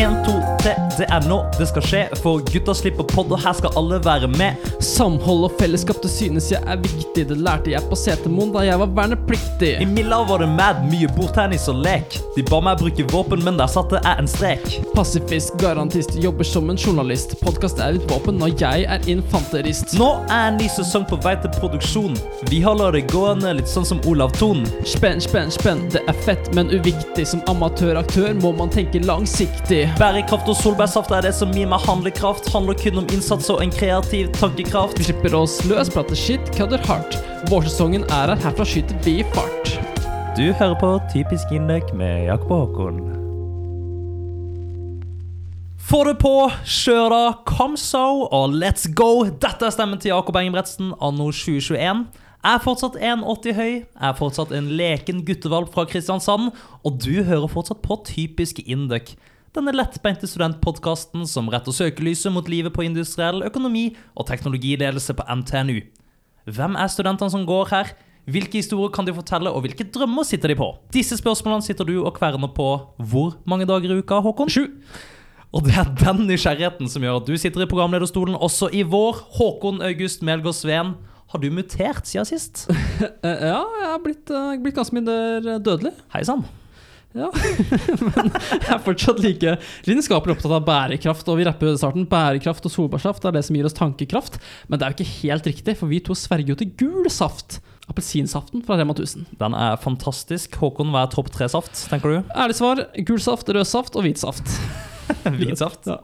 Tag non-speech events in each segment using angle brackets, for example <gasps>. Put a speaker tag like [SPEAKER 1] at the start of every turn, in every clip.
[SPEAKER 1] En, to, tre, det er nå det skal skje. For gutta slipper pod, og her skal alle være med.
[SPEAKER 2] Samhold og fellesskap, det synes jeg er viktig. Det lærte jeg på Setermoen da jeg var vernepliktig.
[SPEAKER 1] I Milla var det mad mye bordtennis og lek. De ba meg bruke våpen, men der satte jeg en strek.
[SPEAKER 2] Pasifist, garantist, jobber som en journalist. Podkast er et våpen når jeg er infanterist.
[SPEAKER 1] Nå er en ny sesong på vei til produksjon. Vi holder det gående litt sånn som Olav Thon.
[SPEAKER 2] Spenn, spenn, spenn, det er fett, men uviktig. Som amatøraktør må man tenke langsiktig.
[SPEAKER 1] Bærekraft og solbærsaft er det som gir meg handlekraft. Handler kun om innsats og en kreativ tankekraft.
[SPEAKER 2] Vi slipper oss løs, prater shit, kødder hardt. Vårsesongen er her, herfra skyter vi fart.
[SPEAKER 1] Du hører på Typisk Indøk med Jakob og Håkon. Få det på, kjør da, kom so, og let's go! Dette er stemmen til Jakob Engebretsen anno 2021. Jeg er fortsatt 1,80 høy, jeg er fortsatt en leken guttevalp fra Kristiansand, og du hører fortsatt på Typisk Indøk. Denne lettbeinte studentpodkasten som retter søkelyset mot livet på industriell økonomi og teknologiledelse på NTNU. Hvem er studentene som går her? Hvilke historier kan de fortelle, og hvilke drømmer sitter de på? Disse spørsmålene sitter du og kverner på hvor mange dager i uka, Håkon? Sju. Og det er den nysgjerrigheten som gjør at du sitter i programlederstolen også i vår. Håkon August Melgaard Sveen, har du mutert siden sist?
[SPEAKER 2] Eh, Ja, jeg har blitt, eh, blitt ganske mye der, eh, dødelig.
[SPEAKER 1] Hei sann.
[SPEAKER 2] Ja, men <laughs> jeg er fortsatt like lidenskapelig opptatt av bærekraft. Og vi rapper jo i starten bærekraft og solbærsaft er det som gir oss tankekraft. Men det er jo ikke helt riktig, for vi to sverger jo til gul saft. Appelsinsaften fra Rema 1000.
[SPEAKER 1] Den er fantastisk. Håkon, hva er topp tre-saft, tenker
[SPEAKER 2] <laughs>
[SPEAKER 1] du?
[SPEAKER 2] Ærlig svar gul saft, rød saft og hvit saft.
[SPEAKER 1] Vinsaft.
[SPEAKER 2] Ja.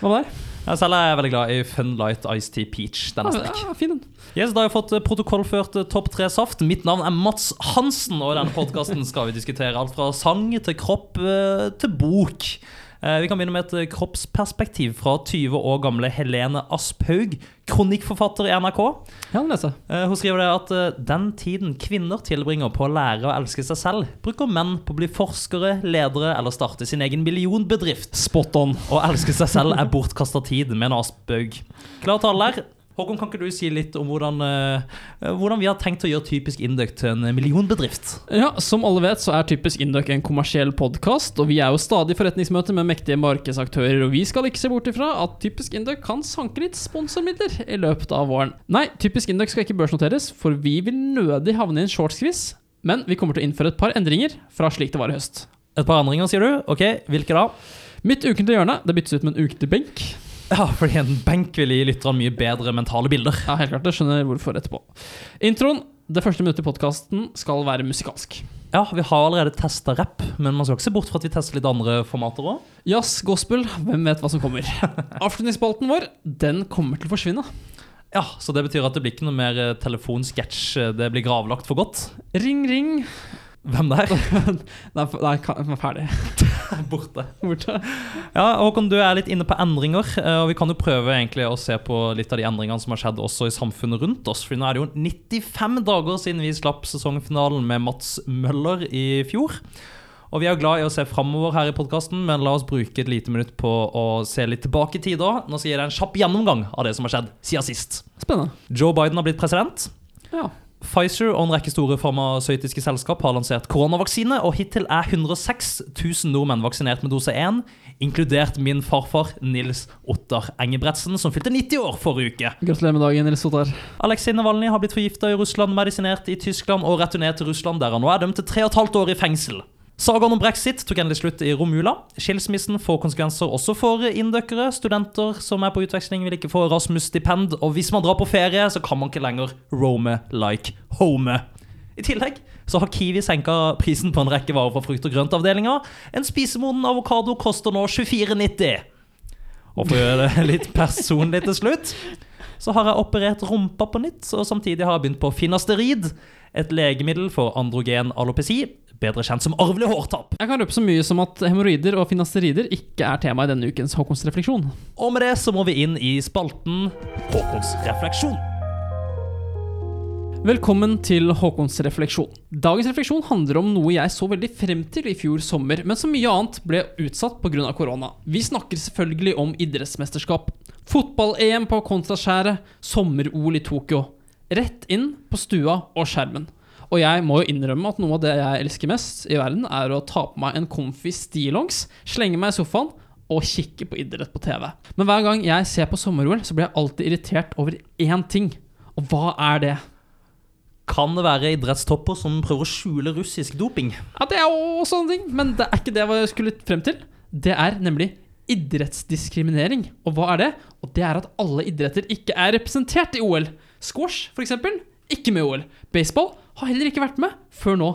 [SPEAKER 2] Hva med deg?
[SPEAKER 1] Ja, selv er jeg veldig glad i Fun Light Iced Tea Peach.
[SPEAKER 2] <laughs>
[SPEAKER 1] Den er
[SPEAKER 2] Ja,
[SPEAKER 1] sterk.
[SPEAKER 2] ja, fin den.
[SPEAKER 1] Yes, da har jeg fått eh, protokollført eh, topp tre saft. Mitt navn er Mats Hansen, og i denne podkasten skal vi diskutere alt fra sang til kropp eh, til bok. Eh, Vi kan begynne med et eh, kroppsperspektiv fra 20 år gamle Helene Asphaug, kronikkforfatter i NRK.
[SPEAKER 2] Ja, den leser jeg.
[SPEAKER 1] Eh, Hun skriver det at eh, den tiden kvinner tilbringer på å lære å elske seg selv, bruker menn på å bli forskere, ledere eller starte sin egen millionbedrift.
[SPEAKER 2] Spot on.
[SPEAKER 1] Å elske seg selv er bortkasta tid, mener Asbjørg. Klar tale der. Håkon, kan ikke du si litt om hvordan, eh, hvordan vi har tenkt å gjøre typisk Induct til en millionbedrift?
[SPEAKER 2] Ja, Som alle vet, så er typisk Induc en kommersiell podkast, og vi er jo stadig i forretningsmøte med mektige markedsaktører, og vi skal ikke se bort ifra at typisk Induc kan sanke litt sponsormidler i løpet av våren. Nei, typisk Induc skal ikke børsnoteres, for vi vil nødig havne i en shortskviss, men vi kommer til å innføre et par endringer fra slik det var i høst.
[SPEAKER 1] Et par endringer, sier du? Ok, hvilke da?
[SPEAKER 2] Mitt ukentlige hjørne det byttes ut med en ukentlig benk.
[SPEAKER 1] Ja, fordi en benk vil gi lytterne mye bedre mentale bilder.
[SPEAKER 2] Ja, helt klart, jeg skjønner hvorfor etterpå. Introen, det første minuttet i podkasten, skal være musikalsk.
[SPEAKER 1] Ja, vi har allerede testa rapp, men man skal ikke se bort fra at vi tester litt andre formater òg.
[SPEAKER 2] Jazz, gospel, hvem vet hva som kommer. Avslutningsspalten vår, den kommer til å forsvinne.
[SPEAKER 1] Ja, så det betyr at det blir ikke noe mer eh, telefonsketsj. eh, Det blir gravlagt for godt.
[SPEAKER 2] Ring, ring.
[SPEAKER 1] Hvem det er?
[SPEAKER 2] Nei, f- nei ka- jeg er ferdig.
[SPEAKER 1] <laughs>
[SPEAKER 2] <laughs>
[SPEAKER 1] Borte.
[SPEAKER 2] Borte.
[SPEAKER 1] Ja, Håkon, du er litt inne på endringer. eh, Og vi kan jo prøve egentlig å se på litt av de endringene som har skjedd også i samfunnet rundt oss. For nå er det jo 95 dager siden vi slapp sesongfinalen med Mats Møller i fjor. Og vi er jo glad i å se framover her i podkasten, men la oss bruke et lite minutt på å se litt tilbake i tid da. Nå skal jeg gi deg en kjapp gjennomgang av det som har skjedd siden sist.
[SPEAKER 2] Spennende.
[SPEAKER 1] Joe Biden har blitt president.
[SPEAKER 2] Ja.
[SPEAKER 1] Pfizer og en rekke store farmasøytiske selskap har lansert koronavaksine, og hittil er 106 000 nordmenn vaksinert med dose 1, inkludert min farfar Nils Ottar Engebretsen, som fylte 90 år forrige uke.
[SPEAKER 2] Gratulerer med dagen, Nils Otar.
[SPEAKER 1] Aleksej Navalnyj har blitt forgifta i Russland, medisinert i Tyskland og returnert til Russland, der han nå er dømt til 3,5 år i fengsel. Sagaen om brexit tok endelig slutt i romjula. Skilsmissen får konsekvenser også for inndøkkere. Studenter som er på utveksling, vil ikke få Erasmus-stipend. Og hvis man drar på ferie, så kan man ikke lenger roame like home. I tillegg så har Kiwi senka prisen på en rekke varer fra frukt- og grøntavdelinga. En spisemoden avokado koster nå 24,90. Og for å gjøre det litt personlig til slutt, så har jeg operert rumpa på nytt, og samtidig har jeg begynt på finasterid, et legemiddel for androgen alopeci, bedre kjent som arvelig hårtap.
[SPEAKER 2] Jeg kan røpe så mye som at hemoroider og finasterider ikke er tema i denne ukens Håkons refleksjon.
[SPEAKER 1] Og med det så må vi inn i spalten Håkons refleksjon.
[SPEAKER 2] Velkommen til Håkons refleksjon. Dagens refleksjon handler om noe jeg så veldig frem til i fjor sommer, men som mye annet ble utsatt pga. korona. Vi snakker selvfølgelig om idrettsmesterskap. Fotball-EM på Konstaskjæret, sommer-OL i Tokyo. Rett inn på stua og skjermen. Og jeg må jo innrømme at noe av det jeg elsker mest i verden, er å ta på meg en comfy stillongs, slenge meg i sofaen å kikke på idrett på TV. Men hver gang jeg ser på sommer-OL, så blir jeg alltid irritert over én ting. Og hva er det?
[SPEAKER 1] Kan det være idrettstopper som prøver å skjule russisk doping?
[SPEAKER 2] Ja, det er jo også en ting, men det er ikke det jeg skulle frem til. Det er nemlig idrettsdiskriminering. Og hva er det? Og det er at alle idretter ikke er representert i OL. Squash, for eksempel, ikke med i OL. Baseball har heller ikke vært med før nå.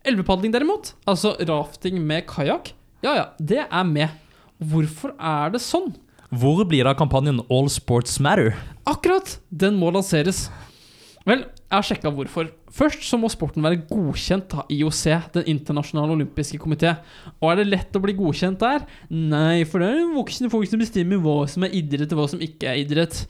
[SPEAKER 2] Elvepadling, derimot, altså rafting med kajakk, ja ja, det er med. Hvorfor er det sånn?
[SPEAKER 1] Hvor blir det av kampanjen All Sports Matter?
[SPEAKER 2] Akkurat! Den må lanseres. Vel, jeg har sjekka hvorfor. Først så må sporten være godkjent av IOC, Den internasjonale olympiske komité. Og er det lett å bli godkjent der? Nei, for det er voksne folk som bestemmer hva som er idrett og hva som ikke er idrett.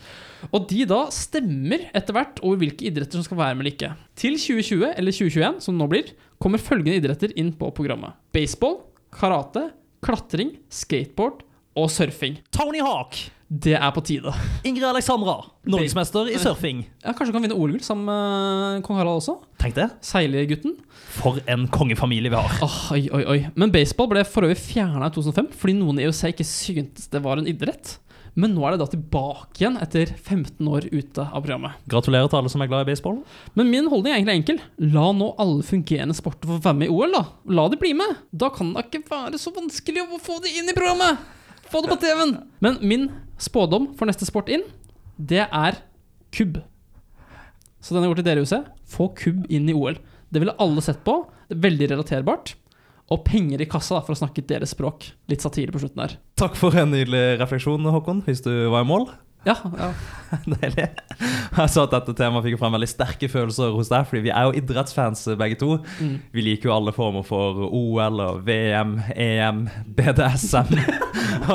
[SPEAKER 2] Og de da stemmer etter hvert over hvilke idretter som skal være med eller ikke. Til 2020, eller 2021, som det nå blir, kommer følgende idretter inn på programmet. Baseball, karate, klatring, skateboard og surfing.
[SPEAKER 1] Tony Hawk!
[SPEAKER 2] Det er på tide.
[SPEAKER 1] Ingrid Alexandra, norgesmester i surfing.
[SPEAKER 2] Ja, kanskje du kan vinne OL-gull sammen med eh, kong Harald også?
[SPEAKER 1] Tenk det.
[SPEAKER 2] Seilergutten.
[SPEAKER 1] For en kongefamilie vi har.
[SPEAKER 2] Åh, Ah, oi, oi, oi. Men baseball ble for øvrig fjerna i 2005 fordi noen i IOC ikke syntes det var en idrett. Men nå er det da tilbake igjen etter 15 år ute av programmet.
[SPEAKER 1] Gratulerer til alle som er glad i baseball.
[SPEAKER 2] Men min holdning er egentlig enkel. La nå alle fungerende sporter få være med i OL, da. La de bli med. Da kan det ikke være så vanskelig å få de inn i programmet. Få det på TV-en. Men min spådom for neste sport inn, det er kubb. Så den jeg gjort til dere, huset. Få kubb inn i OL. Det ville alle sett på. Det er veldig relaterbart. Og penger i kassa, da, for å snakke deres språk. Litt satire på slutten der.
[SPEAKER 1] Takk for en nydelig refleksjon, Håkon, hvis du var i mål.
[SPEAKER 2] Ja, ja.
[SPEAKER 1] <laughs> Deilig. Jeg sa at dette temaet fikk frem veldig sterke følelser hos deg, fordi vi er jo idrettsfans eh, begge to.
[SPEAKER 2] Mm.
[SPEAKER 1] Vi liker jo alle former for OL og E VM, EM, <laughs> BDSM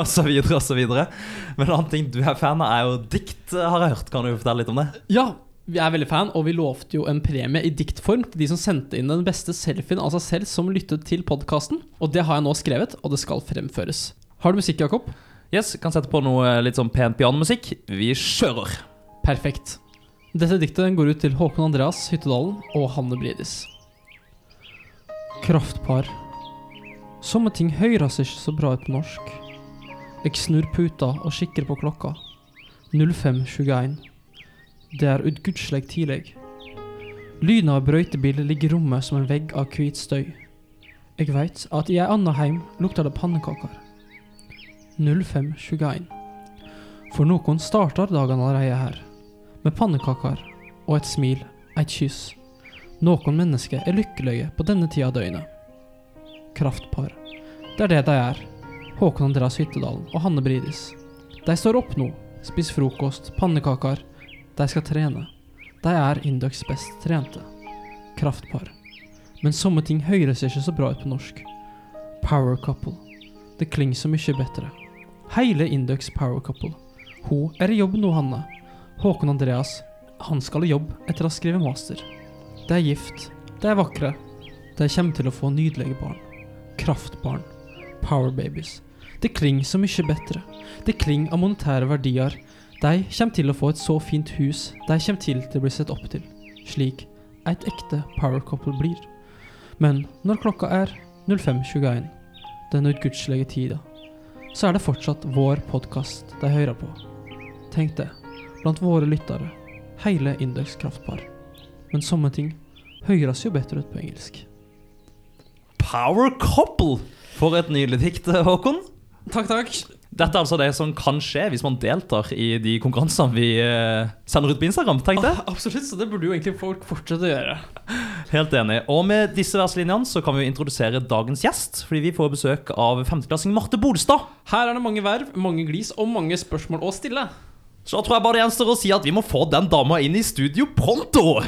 [SPEAKER 1] osv. osv. Men en annen ting du er fan av, er jo dikt, har jeg hørt. Kan du fortelle litt om det?
[SPEAKER 2] Ja, vi er veldig fan, og vi lovte jo en premie i diktform til de som sendte inn den beste selfien av seg selv som lyttet til podkasten. Og det har jeg nå skrevet, og det skal fremføres. Har du musikk, Jakob?
[SPEAKER 1] Yes, Kan sette på noe litt sånn pen pianomusikk. Vi kjører.
[SPEAKER 2] Perfekt. Dette diktet går ut til Håkon Andreas Hyttedalen og Hanne Bridis. Kraftpar. Somme ting høyres ikke så bra ut på norsk. Eg snur puta og kikker på klokka. 05.21. Det er utgudsleg tidleg. Lyden av brøytebil ligger i rommet som en vegg av kvit støy. Eg veit at i ei anna heim lukter det pannekaker. 05.21. For noen starter dagen allerede her, med pannekaker og et smil, et kyss. Noen mennesker er lykkelige på denne tida av døgnet. Kraftpar. Det er det de er. Håkon Andreas Hyttedalen og Hanne Bridis. De står opp nå, spiser frokost, pannekaker. De skal trene. De er Indøks best trente. Kraftpar. Men somme ting høres ikke så bra ut på norsk. Power couple. Det klinger så mye bedre. Hele Indux Power Couple. Hun er i jobb nå, Hanne. Håkon Andreas, han skal i jobb etter å ha skrevet master. De er gift, de er vakre. De kommer til å få nydelige barn. Kraftbarn. Power babies. Det klinger så mye bedre. Det klinger av monetære verdier. De kommer til å få et så fint hus. De kommer til til å bli sett opp til. Slik et ekte power couple blir. Men når klokka er 05.21, den utgudslige tida, så er det fortsatt vår podkast de hører på. Tenk det, blant våre lyttere, hele Indeks kraftpar. Men somme ting høres jo bedre ut på engelsk.
[SPEAKER 1] Power couple! For et nydelig dikt, eh, Håkon.
[SPEAKER 2] Takk, takk.
[SPEAKER 1] Dette er altså det som kan skje hvis man deltar i de konkurransene vi eh, sender ut på Instagram. Tenk det.
[SPEAKER 2] absolutt, så det burde jo egentlig folk fortsette å gjøre.
[SPEAKER 1] Helt enig. Og med disse verslinjene så kan vi jo introdusere dagens gjest, fordi vi får besøk av femteklassing Marte Bolstad.
[SPEAKER 2] Her er det mange verv, mange glis og mange spørsmål å stille.
[SPEAKER 1] Så da tror jeg bare det gjenstår å si at vi må få den dama inn i studio pronto!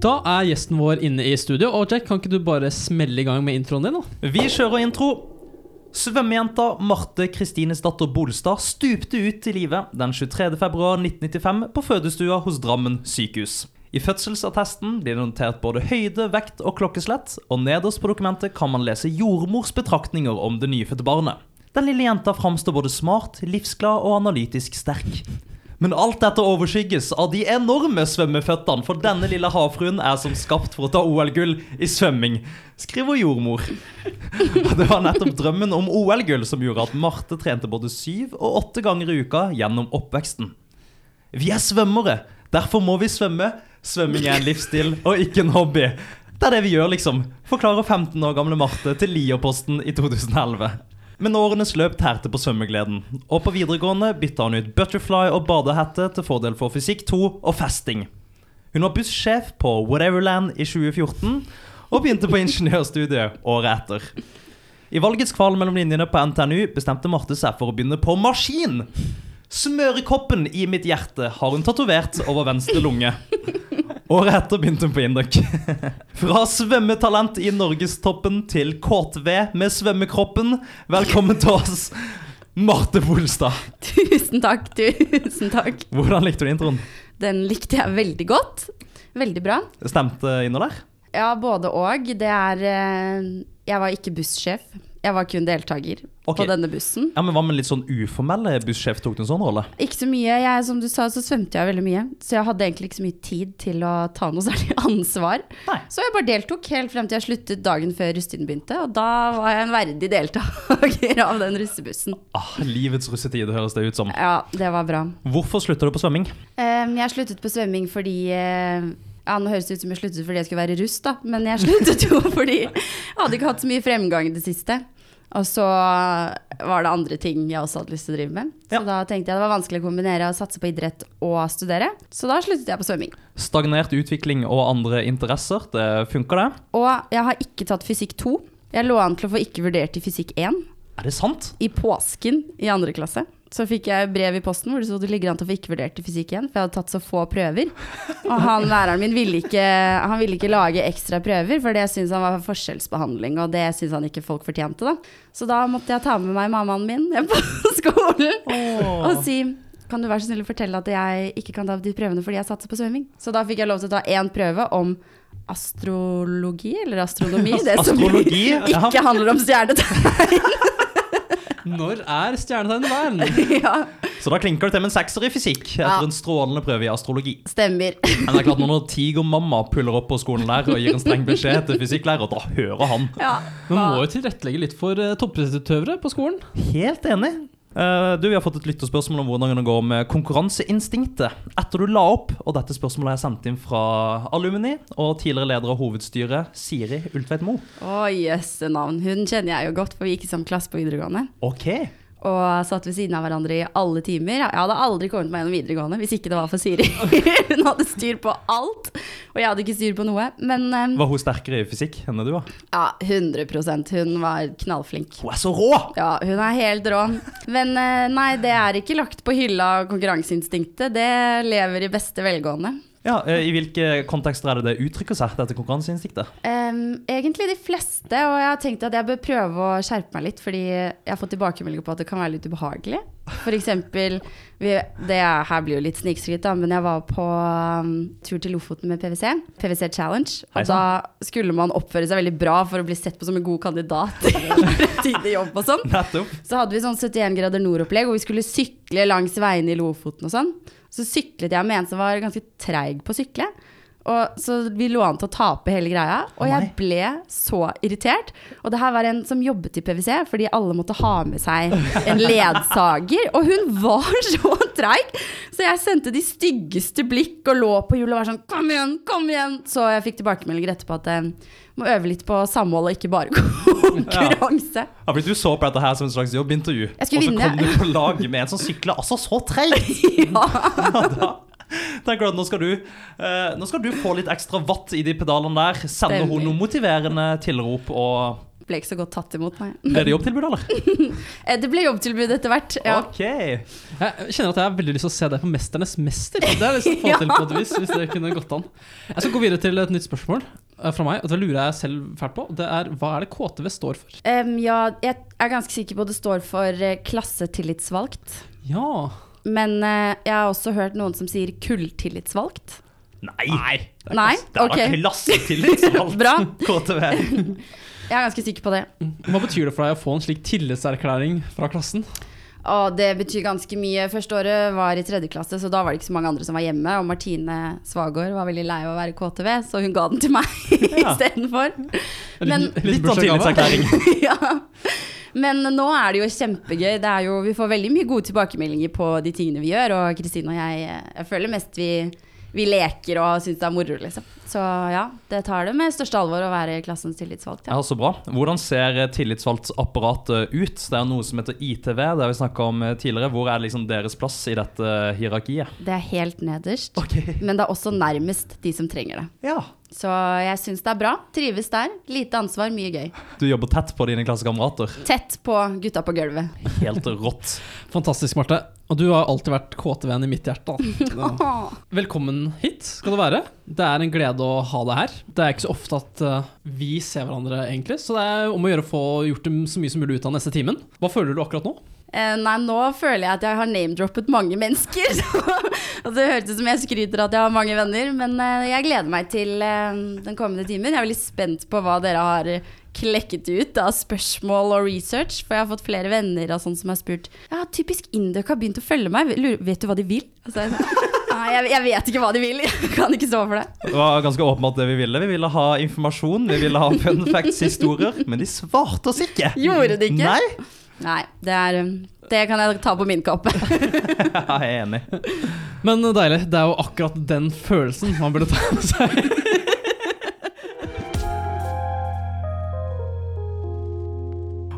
[SPEAKER 2] Da er gjesten vår inne i studio, og Jack, kan ikke du bare smelle i gang med introen din? da? <laughs>
[SPEAKER 1] Vi kjører intro. Svømmejenta Marte Kristines datter Bolstad stupte ut i livet den 23.2.1995 på fødestua hos Drammen sykehus. I fødselsattesten blir det notert både høyde, vekt og klokkeslett, og nederst på dokumentet kan man lese jordmors betraktninger om det nyfødte barnet. Den lille jenta framstår både smart, livsglad og analytisk sterk. Men alt dette overskygges av de enorme svømmeføttene, for denne lille havfruen er som skapt for å ta OL-gull i svømming, skriver jordmor. Og <laughs> det var nettopp drømmen om OL-gull som gjorde at Marte trente både syv og åtte ganger i uka gjennom oppveksten. Vi er svømmere, derfor må vi svømme. Svømming er en livsstil og ikke en hobby. Det er det vi gjør, liksom. Forklarer 15 år gamle Marte til Lierposten i 2011. Men årenes løp tærte på svømmegleden, og på videregående bytta hun ut butterfly og badehette til fordel for fysikk 2 og festing. Hun var bussjef på Whateverland i 2014, og begynte på ingeniørstudiet året etter. I valgets kval mellom linjene på NTNU bestemte Marte seg for å begynne på maskin. Smørekoppen i mitt hjerte har hun tatovert over venstre lunge. Året etter begynte hun på Induk. <laughs> Fra svømmetalent i norgestoppen til KTV med svømmekroppen, velkommen til oss, Marte Bolstad.
[SPEAKER 3] Tusen takk, tusen takk.
[SPEAKER 1] Hvordan likte du introen?
[SPEAKER 3] Den likte jeg veldig godt. Veldig bra.
[SPEAKER 1] Stemte innholdet? her?
[SPEAKER 3] Ja, både og. Det er eh, Jeg var ikke bussjef. Jeg var kun deltaker
[SPEAKER 1] Ok.
[SPEAKER 3] på denne bussen.
[SPEAKER 1] Ja, men Hva med litt sånn uformelle bussjef? Tok du en sånn rolle?
[SPEAKER 3] Ikke så mye. Jeg, som du sa, så svømte jeg veldig mye. Så jeg hadde egentlig ikke så mye tid til å ta noe <laughs> særlig ansvar.
[SPEAKER 1] Nei.
[SPEAKER 3] Så jeg bare deltok helt frem til jeg sluttet dagen før russetiden begynte. Og da var jeg en verdig deltaker <laughs> av den russebussen.
[SPEAKER 1] Ah, livets russetid høres det ut som.
[SPEAKER 3] Ja, det var bra.
[SPEAKER 1] Hvorfor slutta du på svømming?
[SPEAKER 3] Ehm, jeg sluttet på svømming fordi eh, ja, Nå høres det ut som jeg sluttet fordi jeg skulle være russ, da. Men jeg <laughs> sluttet jo fordi jeg hadde ikke hatt så mye fremgang i det siste. Og så var det andre ting jeg også hadde lyst til å drive med.
[SPEAKER 1] Ja.
[SPEAKER 3] Så da tenkte jeg det var vanskelig å kombinere å satse på idrett og studere. Så da sluttet jeg på svømming.
[SPEAKER 1] Stagnert utvikling og andre interesser, det funker det?
[SPEAKER 3] Og jeg har ikke tatt fysikk 2. Jeg lå an til å få ikke vurdert i fysikk 1.
[SPEAKER 1] Er det sant?
[SPEAKER 3] I påsken i andre klasse så fikk jeg brev i posten hvor det sto det ligger an til å få ikke vurdert i fysikk igjen, for jeg hadde tatt så få prøver. Og han læreren min ville ikke, han ville ikke lage ekstra prøver, for det syntes han var forskjellsbehandling, og det syntes han ikke folk fortjente, da. Så da måtte jeg ta med meg mammaen min ned på <laughs> skolen og si kan du være så snill å fortelle at jeg ikke kan ta de prøvene fordi jeg satser på svømming? Så da fikk jeg lov til å ta én prøve om astrologi, eller astronomi, det som
[SPEAKER 1] Astrologi, ja.
[SPEAKER 3] <laughs> ikke handler om stjernetegn. <laughs>
[SPEAKER 2] Når er stjernetegnet vern?
[SPEAKER 3] ja.
[SPEAKER 1] Så da klinker det til med en sekser i fysikk etter
[SPEAKER 3] Ja.
[SPEAKER 1] en strålende prøve i astrologi.
[SPEAKER 3] Stemmer.
[SPEAKER 1] Men det er klart når tigermamma puller opp på skolen der og gir en streng beskjed til fysikklærer, da hører han.
[SPEAKER 3] Ja.
[SPEAKER 2] Man må jo tilrettelegge litt for eh, toppidrettsutøvere på skolen.
[SPEAKER 1] Helt enig. Eh, du, Vi har fått et lytterspørsmål om hvordan det går med konkurranseinstinktet. Etter du la opp, og dette spørsmålet er sendt inn fra Alumni og tidligere leder av hovedstyret, Siri Ultveit Moe.
[SPEAKER 3] Å, jøsse navn. Hun kjenner jeg jo godt, for vi gikk i samme klasse på videregående.
[SPEAKER 1] Ok.
[SPEAKER 3] Og satt ved siden av hverandre i alle timer. Jeg hadde aldri kommet meg gjennom videregående hvis ikke det var for Siri. Hun hadde styr på alt, og jeg hadde ikke styr på noe. Men eh,
[SPEAKER 1] Var hun sterkere i fysikk enn det du var?
[SPEAKER 3] ja, 100 Hun var knallflink.
[SPEAKER 1] Hun er så rå!
[SPEAKER 3] Ja, hun er helt rå. Men eh, nei, det er ikke lagt på hylla, konkurranseinstinktet. Det lever i beste velgående.
[SPEAKER 1] Ja, eh, I hvilke kontekster er det det uttrykker seg, dette konkurranseinstinktet?
[SPEAKER 3] Ehm, egentlig de fleste, og jeg har tenkt at jeg bør prøve å skjerpe meg litt, fordi jeg har fått tilbakemeldinger på at det kan være litt ubehagelig. For eksempel, vi, det er- her blir jo litt snikskryt da, men jeg var på um, tur til Lofoten med PwC, PwC Challenge,
[SPEAKER 1] Hei
[SPEAKER 3] og da skulle man oppføre seg veldig bra for å bli sett på som en god kandidat <laughs> i fremtidig jobb og sånn.
[SPEAKER 1] Nettopp.
[SPEAKER 3] Så hadde vi sånn 71 grader nord-opplegg, og vi skulle sykle langs veiene i Lofoten og sånn. Så syklet jeg med en som var ganske treig på å sykle. Og så vi lå an til å tape hele greia, og
[SPEAKER 1] Å, nei.
[SPEAKER 3] jeg ble så irritert. Og det her var en som jobbet i PwC, fordi alle måtte ha med seg en ledsager. Og hun var <laughs> så treig! Så jeg sendte de styggeste blikk og lå på hjulet og var sånn Kom igjen, kom igjen! Så jeg fikk tilbakemeldinger etterpå at jeg må øve litt på samhold og ikke bare <laughs> konkurranse.
[SPEAKER 1] Ja, fordi Du så på dette her som et slags jobbintervju,
[SPEAKER 3] Jeg skulle
[SPEAKER 1] og så
[SPEAKER 3] vinne.
[SPEAKER 1] kom du på lag med en som sykler altså så
[SPEAKER 3] <laughs>
[SPEAKER 1] treigt!
[SPEAKER 3] ja.
[SPEAKER 1] Ja, da tenker du at nå skal du, eh, nå skal du få litt ekstra vatt i de pedalene der. Sende
[SPEAKER 3] Stemmer.
[SPEAKER 1] henne noen motiverende tilrop og
[SPEAKER 3] ble ikke så godt tatt imot, nei.
[SPEAKER 1] Ble det jobbtilbud, eller?
[SPEAKER 3] Eh, Det ble jobbtilbud etter hvert. <laughs> Ja.
[SPEAKER 1] OK.
[SPEAKER 2] Jeg kjenner at jeg har veldig lyst til å se deg på 'Mesternes mester'. Det er liksom få til på et vis, hvis det kunne gått an. Jeg skal gå videre til et nytt spørsmål eh, fra meg, og det lurer jeg selv fælt på. Det er hva er det KTV står for?
[SPEAKER 3] Em, ja, jeg er ganske sikker på at det står for eh, klassetillitsvalgt.
[SPEAKER 2] Ja,
[SPEAKER 3] Men eh, jeg har også hørt noen som sier kulltillitsvalgt.
[SPEAKER 1] Nei. Det er
[SPEAKER 3] Nei?
[SPEAKER 1] klasse- Det er
[SPEAKER 3] Ok.
[SPEAKER 1] da
[SPEAKER 3] <laughs>
[SPEAKER 1] klassetillitsvalgt.
[SPEAKER 3] Bra.
[SPEAKER 1] KTV.
[SPEAKER 3] Jeg er ganske sikker på det.
[SPEAKER 2] hva betyr det for deg å få en slik tillitserklæring fra klassen?
[SPEAKER 3] Og det betyr ganske mye. Første året var i tredje klasse, så da var det ikke så mange andre som var hjemme. Og Martine Svagaard var veldig lei av å være KTV, så hun ga den til meg <laughs>
[SPEAKER 1] Ja.
[SPEAKER 3] istedenfor. Men-
[SPEAKER 1] Litt av tillitserklæring.
[SPEAKER 3] <laughs> ja. Men nå er det jo kjempegøy. Det er jo, vi får veldig mye gode tilbakemeldinger på de tingene vi gjør. Og Kristine og jeg, eh, jeg føler mest vi, vi leker og syns det er moro, liksom. Så ja, det tar det med største alvor å være klassens tillitsvalgte.
[SPEAKER 1] Ja, så bra. Hvordan ser eh, tillitsvalgtapparatet ut? Det er noe som heter ITV, det har vi snakka om eh, tidligere. Hvor er liksom deres plass i dette hierarkiet?
[SPEAKER 3] Det er helt nederst,
[SPEAKER 1] Ok. <laughs>
[SPEAKER 3] men det er også nærmest de som trenger det.
[SPEAKER 1] Ja.
[SPEAKER 3] Så jeg syns det er bra. Trives der. Lite ansvar, mye gøy.
[SPEAKER 1] Du jobber tett på dine klassekamerater.
[SPEAKER 3] Tett på gutta på gulvet.
[SPEAKER 1] Helt rått.
[SPEAKER 2] Fantastisk, Marte. Og du har alltid vært KTV-en i mitt hjerte. da.
[SPEAKER 3] Åh.
[SPEAKER 2] Velkommen hit skal du være. Det er en glede å ha deg her. Det er ikke så ofte at eh, vi ser hverandre, egentlig, så det er om å gjøre å få gjort det så mye som mulig ut av neste timen. Hva føler du akkurat nå?
[SPEAKER 3] Eh, nei, nå føler jeg at jeg har name-droppet mange mennesker. <laughs> og det hørtes ut som jeg skryter at jeg har mange venner, men eh, jeg gleder meg til eh, den kommende timen. Jeg er veldig spent på hva dere har eh, klekket ut av spørsmål og research, for jeg har fått flere venner av sånne som har spurt Ja, typisk Indøk har begynt å følge meg, Lurer- vet du hva de vil? Og så er jeg sånn, Nei, jeg, jeg vet ikke hva de vil, jeg kan ikke stå for det.
[SPEAKER 1] Det var ganske åpenbart det vi ville. Vi ville ha informasjon, vi ville ha fun facts, historier. Men de svarte oss ikke.
[SPEAKER 3] Gjorde de ikke?
[SPEAKER 1] Nei. <laughs>
[SPEAKER 3] Nei, det, er, eh, det kan jeg ta på min kappe.
[SPEAKER 1] Ja, jeg er enig.
[SPEAKER 2] Men eh, deilig. Det er jo akkurat den følelsen man burde ta med seg.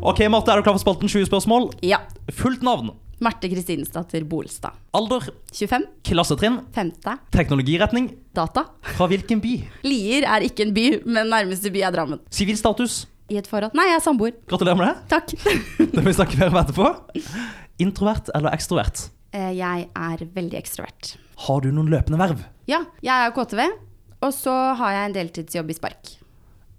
[SPEAKER 1] Ok, Marte, er du klar for spalten 20 spørsmål?
[SPEAKER 3] <laughs> ja.
[SPEAKER 1] Fullt navn,
[SPEAKER 3] Marte Kristinsdatter Bolstad.
[SPEAKER 1] alder,
[SPEAKER 3] 25.
[SPEAKER 1] klassetrinn,
[SPEAKER 3] 5.
[SPEAKER 1] teknologiretning,
[SPEAKER 3] Data.
[SPEAKER 1] fra hvilken by,
[SPEAKER 3] Lier er ikke en by, men nærmeste by er Drammen.
[SPEAKER 1] sivilstatus.
[SPEAKER 3] I et forhold Nei, jeg er samboer.
[SPEAKER 1] Gratulerer med det.
[SPEAKER 3] <laughs> Takk.
[SPEAKER 1] <laughs> Det vil vi snakke mer om etterpå. Introvert eller ekstrovert?
[SPEAKER 3] Eh, jeg er veldig ekstrovert.
[SPEAKER 1] Har du noen løpende verv?
[SPEAKER 3] Ja, jeg er KTV, og så har jeg en deltidsjobb i Spark.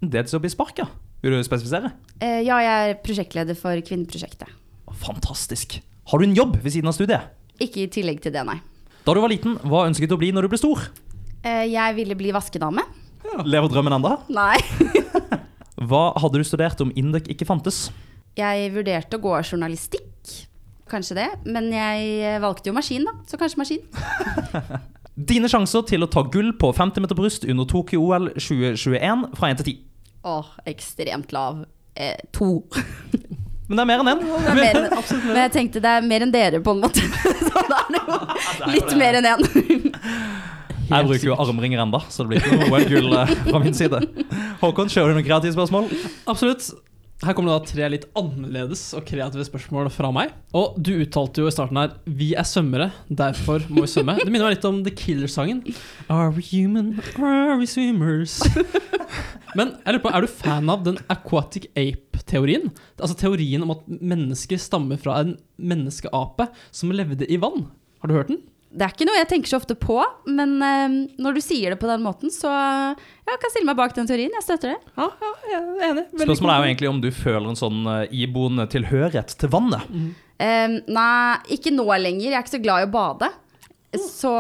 [SPEAKER 1] En deltidsjobb i Spark, ja. Vil du spesifisere?
[SPEAKER 3] Eh, ja, jeg er prosjektleder for Kvinneprosjektet.
[SPEAKER 1] Fantastisk. Har du en jobb ved siden av studiet?
[SPEAKER 3] Ikke i tillegg til det, nei.
[SPEAKER 1] Da du var liten, hva ønsket du å bli når du ble stor?
[SPEAKER 3] Eh, jeg ville bli vaskedame.
[SPEAKER 1] Lever drømmen enda?
[SPEAKER 3] Nei.
[SPEAKER 1] Hva hadde du studert om Indøk ikke fantes?
[SPEAKER 3] Jeg vurderte å gå journalistikk, kanskje det, men jeg valgte jo maskin, da, så kanskje maskin.
[SPEAKER 1] Dine sjanser til å ta gull på 50 meter bryst under Tokyo-OL 2021 fra 1 til 10.
[SPEAKER 3] Åh, ekstremt lav. Eh, to.
[SPEAKER 1] Men det er mer enn én.
[SPEAKER 3] Det er mer enn, men jeg tenkte det er mer enn dere, på en måte. <laughs> Så da er det jo litt mer enn én.
[SPEAKER 1] Jeg bruker jo armringer enda, så det blir ikke noe OL-gull eh, fra min side. Håkon, kjører du noen kreative spørsmål?
[SPEAKER 2] Absolutt. Her kommer det da tre litt annerledes og kreative spørsmål fra meg. Og du uttalte jo i starten her 'Vi er svømmere, derfor må vi svømme'. Det minner meg litt om The Killer-sangen. Are we human, or are we swimmers? Men jeg lurer på, er du fan av den aquatic ape-teorien? Altså teorien om at mennesker stammer fra en menneskeape som levde i vann. Har du hørt den?
[SPEAKER 3] Det er ikke noe jeg tenker så ofte på, men eh, når du sier det på den måten, så ja, jeg kan stille meg bak den teorien. Jeg støtter det.
[SPEAKER 2] Ja, ja jeg er enig.
[SPEAKER 1] Spørsmålet er jo egentlig om du føler en sånn eh, iboende tilhørighet til vannet.
[SPEAKER 3] Eh, nei, ikke nå lenger. Jeg er ikke så glad i å bade. Så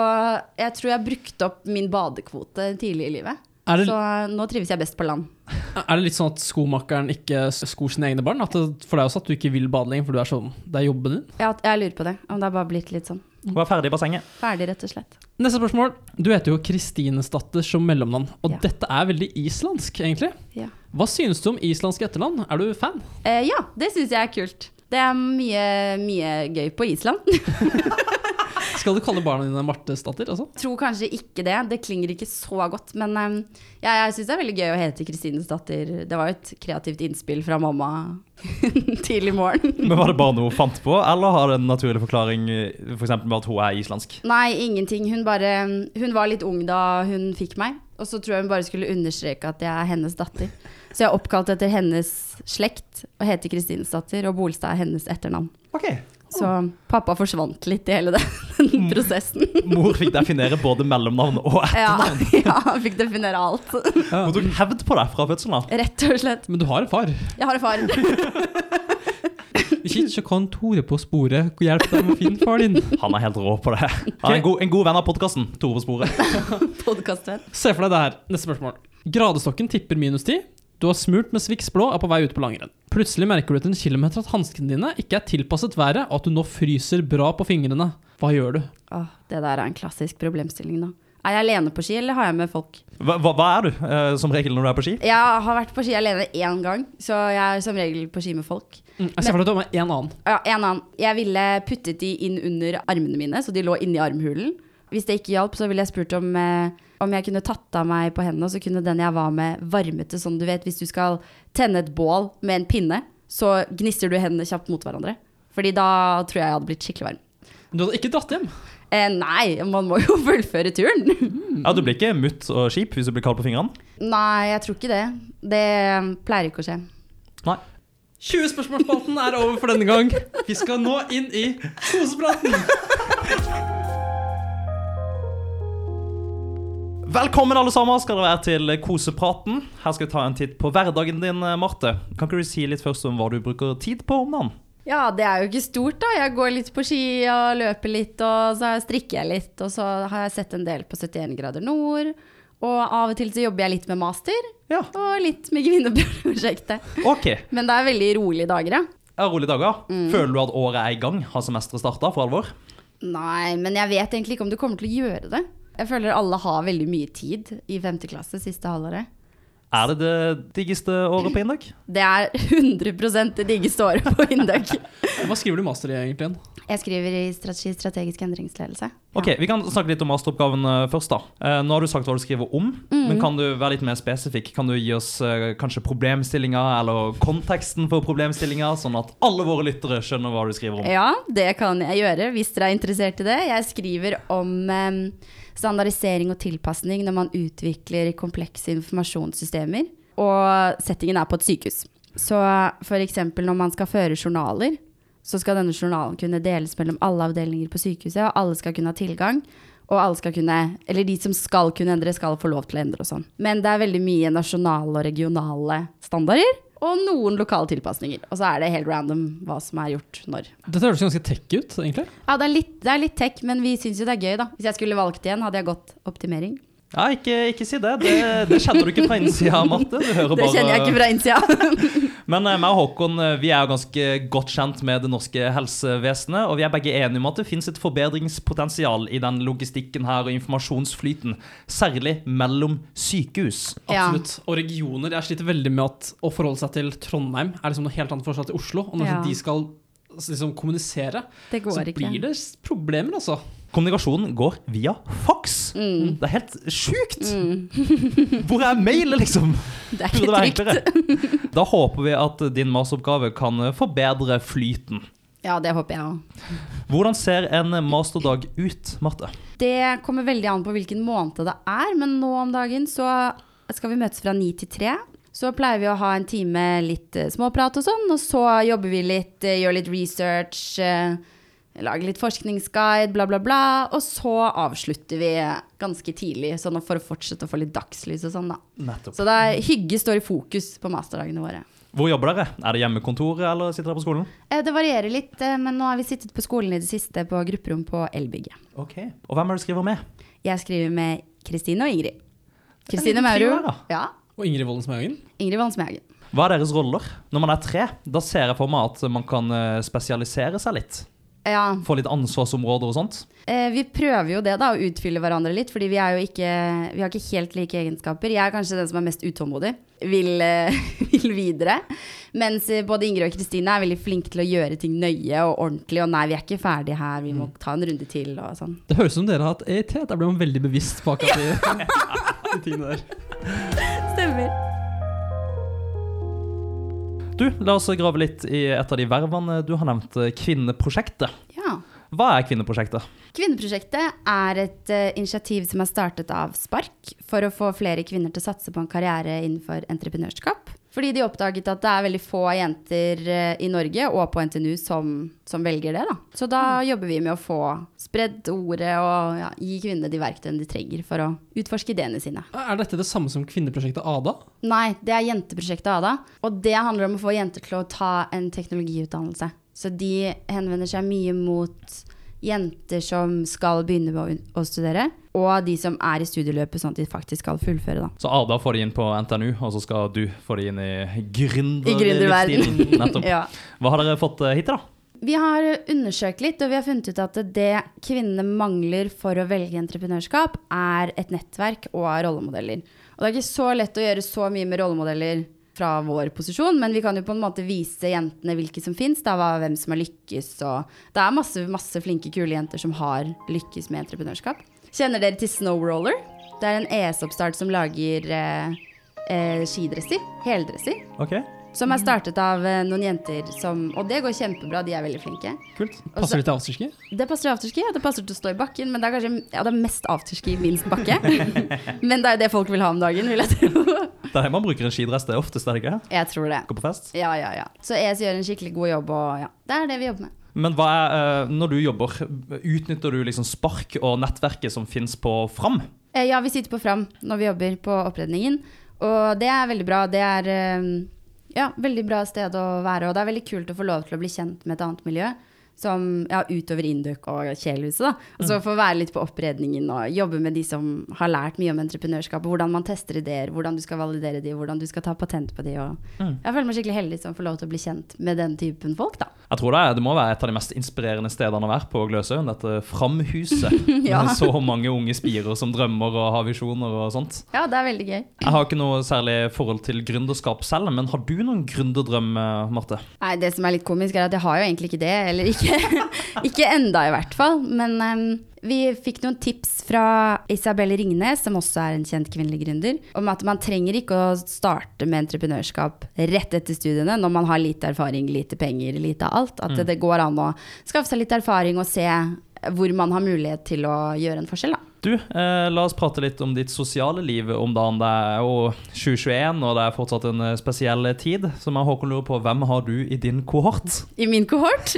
[SPEAKER 3] jeg tror jeg brukte opp min badekvote tidlig i livet.
[SPEAKER 2] Er det-
[SPEAKER 3] Så nå trives jeg best på land.
[SPEAKER 2] Er det litt sånn at skomakeren ikke skor sine egne barn? At det, for deg også at du ikke vil bade lenger, for du er sånn, det er jobben din?
[SPEAKER 3] Jeg, jeg lurer på det. Om det har bare blitt litt sånn
[SPEAKER 1] Hun er ferdig i bassenget.
[SPEAKER 3] ferdig, rett og slett.
[SPEAKER 2] Neste spørsmål. Du heter jo Kristinesdatter som mellomnavn, og
[SPEAKER 3] Ja.
[SPEAKER 2] dette er veldig islandsk, egentlig.
[SPEAKER 3] Ja.
[SPEAKER 2] Hva synes du om islandsk etternavn? Er du fan?
[SPEAKER 3] Eh, ja, det syns jeg er kult. Det er mye, mye gøy på Island.
[SPEAKER 2] Skal du kalle barna dine Martesdatter, altså?
[SPEAKER 3] Tror kanskje ikke det. Det klinger ikke så godt. Men eh, jeg, jeg syns det er veldig gøy å hete Kristines datter. Det var jo et kreativt innspill fra mamma <laughs> tidlig i morgen.
[SPEAKER 1] Men Var det bare noe hun fant på, eller har det en naturlig forklaring f.eks. For eksempel med at hun er islandsk?
[SPEAKER 3] Nei, ingenting. Hun, bare, hun var litt ung da hun fikk meg. Og så tror jeg hun bare skulle understreke at jeg er hennes datter. Så jeg er oppkalt etter hennes slekt og heter Kristines datter. Og Bolstad er hennes etternavn.
[SPEAKER 1] Ok.
[SPEAKER 3] Så pappa forsvant litt i hele den, den prosessen.
[SPEAKER 1] Mor fikk definere både mellomnavn og ett.
[SPEAKER 3] Ja, <laughs> ja, han fikk definere alt.
[SPEAKER 1] Hun tok hevd på deg fra fødselen av.
[SPEAKER 3] Rett og slett.
[SPEAKER 2] Men du har en <laughs> far.
[SPEAKER 3] Jeg har en far.
[SPEAKER 2] Hvis ikke kan Tore på sporet hjelpe deg med å finne far din.
[SPEAKER 1] Han er helt rå på det. Han er en god, en god venn av podkasten. Tore på sporet.
[SPEAKER 3] Podkastvenn.
[SPEAKER 2] Se for deg det her. Neste spørsmål. Gradestokken tipper minus 10. Du Du har smurt med Swix blå, er på vei ut på langrenn. Plutselig merker du etter en kilometer at hanskene dine ikke er tilpasset været, og at du nå fryser bra på fingrene. Hva gjør du?
[SPEAKER 3] Åh, det der er en klassisk problemstilling nå. Er jeg alene på ski, eller har jeg med folk?
[SPEAKER 1] Hva, hva, hva er du eh, som regel når du er på ski?
[SPEAKER 3] Jeg har vært på ski alene én gang, så jeg er som regel på ski med folk.
[SPEAKER 2] Mm, jeg ser for meg at du har med en annen.
[SPEAKER 3] Ja, en annen. Jeg ville puttet de inn under armene mine, så de lå inni armhulen. Hvis det ikke hjalp, så ville jeg spurt om, eh, om jeg kunne tatt av meg på hendene, og så kunne den jeg var med, varmet det sånn du vet. Hvis du skal tenne et bål med en pinne, så gnisser du hendene kjapt mot hverandre. Fordi da tror jeg jeg hadde blitt skikkelig varm.
[SPEAKER 2] Du hadde ikke dratt hjem.
[SPEAKER 3] Eh, nei, man må jo <laughs> fullføre turen.
[SPEAKER 1] Ja, Du blir ikke mutt og skip hvis du blir kald på fingrene?
[SPEAKER 3] nei, jeg tror ikke det. Det pleier ikke å skje.
[SPEAKER 2] 20-spørsmålsspalten er over for denne gang. Vi skal nå inn i kosepraten.
[SPEAKER 1] Velkommen alle sammen skal dere være til Kosepraten. Her skal vi ta en titt på hverdagen din, eh, Marte. Kan ikke du si litt først om hva du bruker tid på om dagen?
[SPEAKER 3] Ja, det er jo ikke stort, da. Jeg går litt på ski og løper litt, og så strikker jeg litt. Og så har jeg sett en del på 71 grader nord. Og av og til så jobber jeg litt med master,
[SPEAKER 1] Ja,
[SPEAKER 3] og litt med kvinneprosjektet.
[SPEAKER 1] OK.
[SPEAKER 3] Men det er veldig rolige dager, ja.
[SPEAKER 1] Ja, Rolige dager.
[SPEAKER 3] Mm.
[SPEAKER 1] Føler du at året er i gang? Har semesteret starta for alvor?
[SPEAKER 3] Nei, men jeg vet egentlig ikke om du kommer til å gjøre det. Jeg føler alle har veldig mye tid i femte klasse siste halvåret.
[SPEAKER 1] Er det det diggeste året på Indøk?
[SPEAKER 3] Det er 100 det diggeste året på Indøk. <laughs>
[SPEAKER 2] Hva skriver du master i egentlig? igjen?
[SPEAKER 3] Jeg skriver i strategi strategisk endringsledelse.
[SPEAKER 1] Ok, Vi kan snakke litt om masteroppgaven eh, først. da. Eh, Nå har du sagt hva du skriver om,
[SPEAKER 3] Mm.
[SPEAKER 1] men kan du være litt mer spesifikk? Kan du gi oss eh, kanskje problemstillinga eller konteksten for problemstillinga, sånn at alle våre lyttere skjønner hva du skriver om?
[SPEAKER 3] Ja, det kan jeg gjøre hvis dere er interessert i det. Jeg skriver om em, standardisering og tilpasning når man utvikler komplekse informasjonssystemer. Og settingen er på et sykehus. Så f.eks. når man skal føre journaler, så skal denne journalen kunne deles mellom alle avdelinger på sykehuset, og alle skal kunne ha tilgang. Og alle skal kunne, eller de som skal kunne endre, skal få lov til å endre og sånn. Men det er veldig mye nasjonale og regionale standarder, og noen lokale tilpasninger. Og så er det helt random hva som er gjort når.
[SPEAKER 2] Dette høres ganske tech ut, egentlig.
[SPEAKER 3] Ja, det er litt, det er litt tech, men vi syns jo det er gøy, da. Hvis jeg skulle valgt igjen, hadde jeg gått optimering.
[SPEAKER 1] Ja, ikke, ikke si det. det. Det kjenner du ikke fra innsida, Marte. Du hører
[SPEAKER 3] Det
[SPEAKER 1] bare...
[SPEAKER 3] kjenner jeg ikke fra innsida.
[SPEAKER 1] Men eh, meg og Håkon eh, vi er jo ganske godt kjent med det norske helsevesenet. Og vi er begge enige om at det fins et forbedringspotensial i den logistikken her og informasjonsflyten. Særlig mellom sykehus.
[SPEAKER 3] Ja.
[SPEAKER 2] Absolutt. Og regioner. Jeg sliter veldig med at å forholde seg til Trondheim er liksom noe helt annet forhold til Oslo. Og når
[SPEAKER 3] Ja.
[SPEAKER 2] de skal liksom kommunisere,
[SPEAKER 3] <laughs> Det
[SPEAKER 2] så
[SPEAKER 3] går ikke.
[SPEAKER 2] blir det s- problemer, altså.
[SPEAKER 1] Kommunikasjonen går via fax.
[SPEAKER 3] Mm.
[SPEAKER 1] Det er helt sjukt!
[SPEAKER 3] <laughs>
[SPEAKER 1] Hvor er mailen, liksom?
[SPEAKER 3] Det er
[SPEAKER 1] Burde
[SPEAKER 3] ikke
[SPEAKER 1] være
[SPEAKER 3] trygt. <laughs>
[SPEAKER 1] enklere. Da håper vi at din masteroppgave kan eh, forbedre flyten.
[SPEAKER 3] Ja, det håper jeg òg.
[SPEAKER 1] Hvordan ser en masterdag ut, Marte?
[SPEAKER 3] Det kommer veldig an på hvilken måned det er, men nå om dagen så skal vi møtes fra ni til tre. Så pleier vi å ha en time litt eh, småprat og sånn, og så jobber vi litt, eh, gjør litt research, eh, lager litt forskningsguide, bla, bla, bla. Og så avslutter vi ganske tidlig, sånn for å fortsette å få litt dagslys og sånn, da.
[SPEAKER 1] Nettopp.
[SPEAKER 3] Så det er, hygge står i fokus på masterdagene våre.
[SPEAKER 1] Hvor jobber dere? Er det hjemmekontoret, eller sitter dere på skolen?
[SPEAKER 3] Eh, Det varierer litt, eh, men nå har vi sittet på skolen i det siste på grupperom på Elbygget.
[SPEAKER 1] Ok. Og hvem er det du skriver med?
[SPEAKER 3] Jeg skriver med Kristine og Ingrid.
[SPEAKER 1] er en
[SPEAKER 3] Kristine
[SPEAKER 1] liten trio
[SPEAKER 3] Maurud.
[SPEAKER 1] her,
[SPEAKER 3] Ja,
[SPEAKER 2] Og Ingrid Volden Smagen.
[SPEAKER 3] Ingrid Vansmjagen.
[SPEAKER 1] Hva er deres roller? Når man er tre, da ser jeg for meg at man kan eh, spesialisere seg litt.
[SPEAKER 3] Ja,
[SPEAKER 1] Få litt ansvarsområder og sånt.
[SPEAKER 3] eh, vi prøver jo det, da, å utfylle hverandre litt, fordi vi er jo ikke Vi har ikke helt like egenskaper. Jeg er kanskje den som er mest utålmodig. Vil, eh, <laughs> vil videre. Mens eh, både Ingrid og Kristine er veldig flinke til å gjøre ting nøye og ordentlig, og nei, vi er ikke ferdig her, vi må ta en runde til, og sånn.
[SPEAKER 2] Det høres ut som dere har hatt EIT. Der blir man veldig bevisst på akkurat
[SPEAKER 3] <laughs>
[SPEAKER 2] de, de tingene der.
[SPEAKER 3] Stemmer.
[SPEAKER 1] Du, la oss grave litt i et av de vervene du har nevnt, eh, Kvinneprosjektet.
[SPEAKER 3] Ja.
[SPEAKER 1] Hva er Kvinneprosjektet?
[SPEAKER 3] Kvinneprosjektet er et eh, initiativ som er startet av Spark for å få flere kvinner til å satse på en karriere innenfor entreprenørskap. Fordi de oppdaget at det er veldig få jenter eh, i Norge og på NTNU som, som velger det. Da. Så da jobber vi med å få spredd ordet og ja, gi kvinnene de verktøyene de trenger for å utforske ideene sine.
[SPEAKER 2] Er dette det samme som kvinneprosjektet Ada?
[SPEAKER 3] Nei, det er jenteprosjektet Ada. Og det handler om å få jenter til å ta en teknologiutdannelse. Så de henvender seg mye mot jenter som skal begynne med å un- å studere, og de som er i studieløpet, sånn at de faktisk skal fullføre, da.
[SPEAKER 1] Så Arda får de inn på NTNU, og så skal du få de inn i
[SPEAKER 3] I gründerverden. <laughs>
[SPEAKER 1] gründerlivsstilen. Nettopp.
[SPEAKER 3] Ja.
[SPEAKER 1] Hva har dere fått eh, hit, da?
[SPEAKER 3] Vi har undersøkt litt, og vi har funnet ut at det kvinnene mangler for å velge entreprenørskap, er et nettverk og er rollemodeller. Og det er ikke så lett å gjøre så mye med rollemodeller fra vår posisjon, men vi kan jo på en måte vise jentene hvilke som fins, da, hva- hvem som har lykkes, og det er masse, masse flinke, kule jenter som har lykkes med entreprenørskap. Kjenner dere til Snowroller? Det er en ES-oppstart som lager eh, eh, skidresser, heldresser.
[SPEAKER 1] Ok,
[SPEAKER 3] Som er startet av eh, noen jenter som Og det går kjempebra, de er veldig flinke.
[SPEAKER 1] kult.
[SPEAKER 3] Og
[SPEAKER 2] Passer det til afterski?
[SPEAKER 3] Det passer til afterski, ja. Det passer til å stå i bakken, men det er kanskje ja, det er mest afterski, minst bakke. men det er jo det folk vil ha om dagen, vil jeg tro.
[SPEAKER 1] Det er her man bruker en skidress, det er oftest, er det ikke?
[SPEAKER 3] Jeg tror det.
[SPEAKER 1] Gå på fest.
[SPEAKER 3] Ja, ja, ja. Så ES gjør en skikkelig god jobb, og ja. Det er det vi jobber med.
[SPEAKER 1] Men hva er, eh, når du jobber, utnytter du liksom spark og nettverket som finnes på Fram?
[SPEAKER 3] Eh, Ja, vi sitter på Fram når vi jobber på oppredningen, og det er veldig bra. Det er eh, ja, veldig bra sted å være, og det er veldig kult å få lov til å bli kjent med et annet miljø. Som, ja, utover Induk og Kjelhuset, da. Og så få være litt på oppredningen og jobbe med de som har lært mye om entreprenørskap, og hvordan man tester ideer, hvordan du skal validere de, hvordan du skal ta patent på de. Og
[SPEAKER 1] Mm.
[SPEAKER 3] jeg føler meg skikkelig heldig som får lov til å bli kjent med den typen folk, da.
[SPEAKER 1] Jeg tror det, er, det må være et av de mest inspirerende stedene å være på Gløshaugen. Dette Framhuset.
[SPEAKER 3] <laughs> Ja.
[SPEAKER 1] Med så mange unge spirer som drømmer og har visjoner og sånt.
[SPEAKER 3] Ja, det er veldig gøy.
[SPEAKER 1] Jeg har ikke noe særlig forhold til gründerskap selv, men har du noen gründerdrøm, eh, Marte?
[SPEAKER 3] Nei, det som er litt komisk er at jeg har jo egentlig ikke det, eller ikke, <laughs> ikke enda i hvert fall. Men em, vi fikk noen tips fra Isabelle Ringnes, som også er en kjent kvinnelig gründer, om at man trenger ikke å starte med entreprenørskap rett etter studiene når man har lite erfaring, lite penger, lite av alt. At det- det går an å skaffe seg litt erfaring og se hvor man har mulighet til å gjøre en forskjell, da.
[SPEAKER 1] Du, eh, la oss prate litt om ditt sosiale liv om dagen. Det er jo 2021, og det er fortsatt en eh, spesiell tid. Så meg og Håkon lurer på, hvem har du i din kohort?
[SPEAKER 3] I min kohort.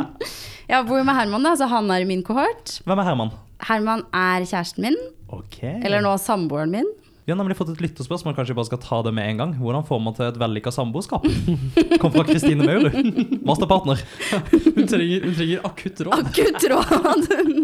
[SPEAKER 3] <laughs> jeg bor jo med Herman, da, så han er i min kohort.
[SPEAKER 1] Hvem er Herman?
[SPEAKER 3] Herman er kjæresten min,
[SPEAKER 1] Ok.
[SPEAKER 3] eller nå samboeren min.
[SPEAKER 1] Vi har nemlig fått et lytterspørsmål, kanskje vi bare skal ta det med en gang. Hvordan får man til et vellykka samboerskap? Kom fra Kristine Maurud, masterpartner.
[SPEAKER 2] Hun trenger, hun trenger akutt råd.
[SPEAKER 3] Akutt råd!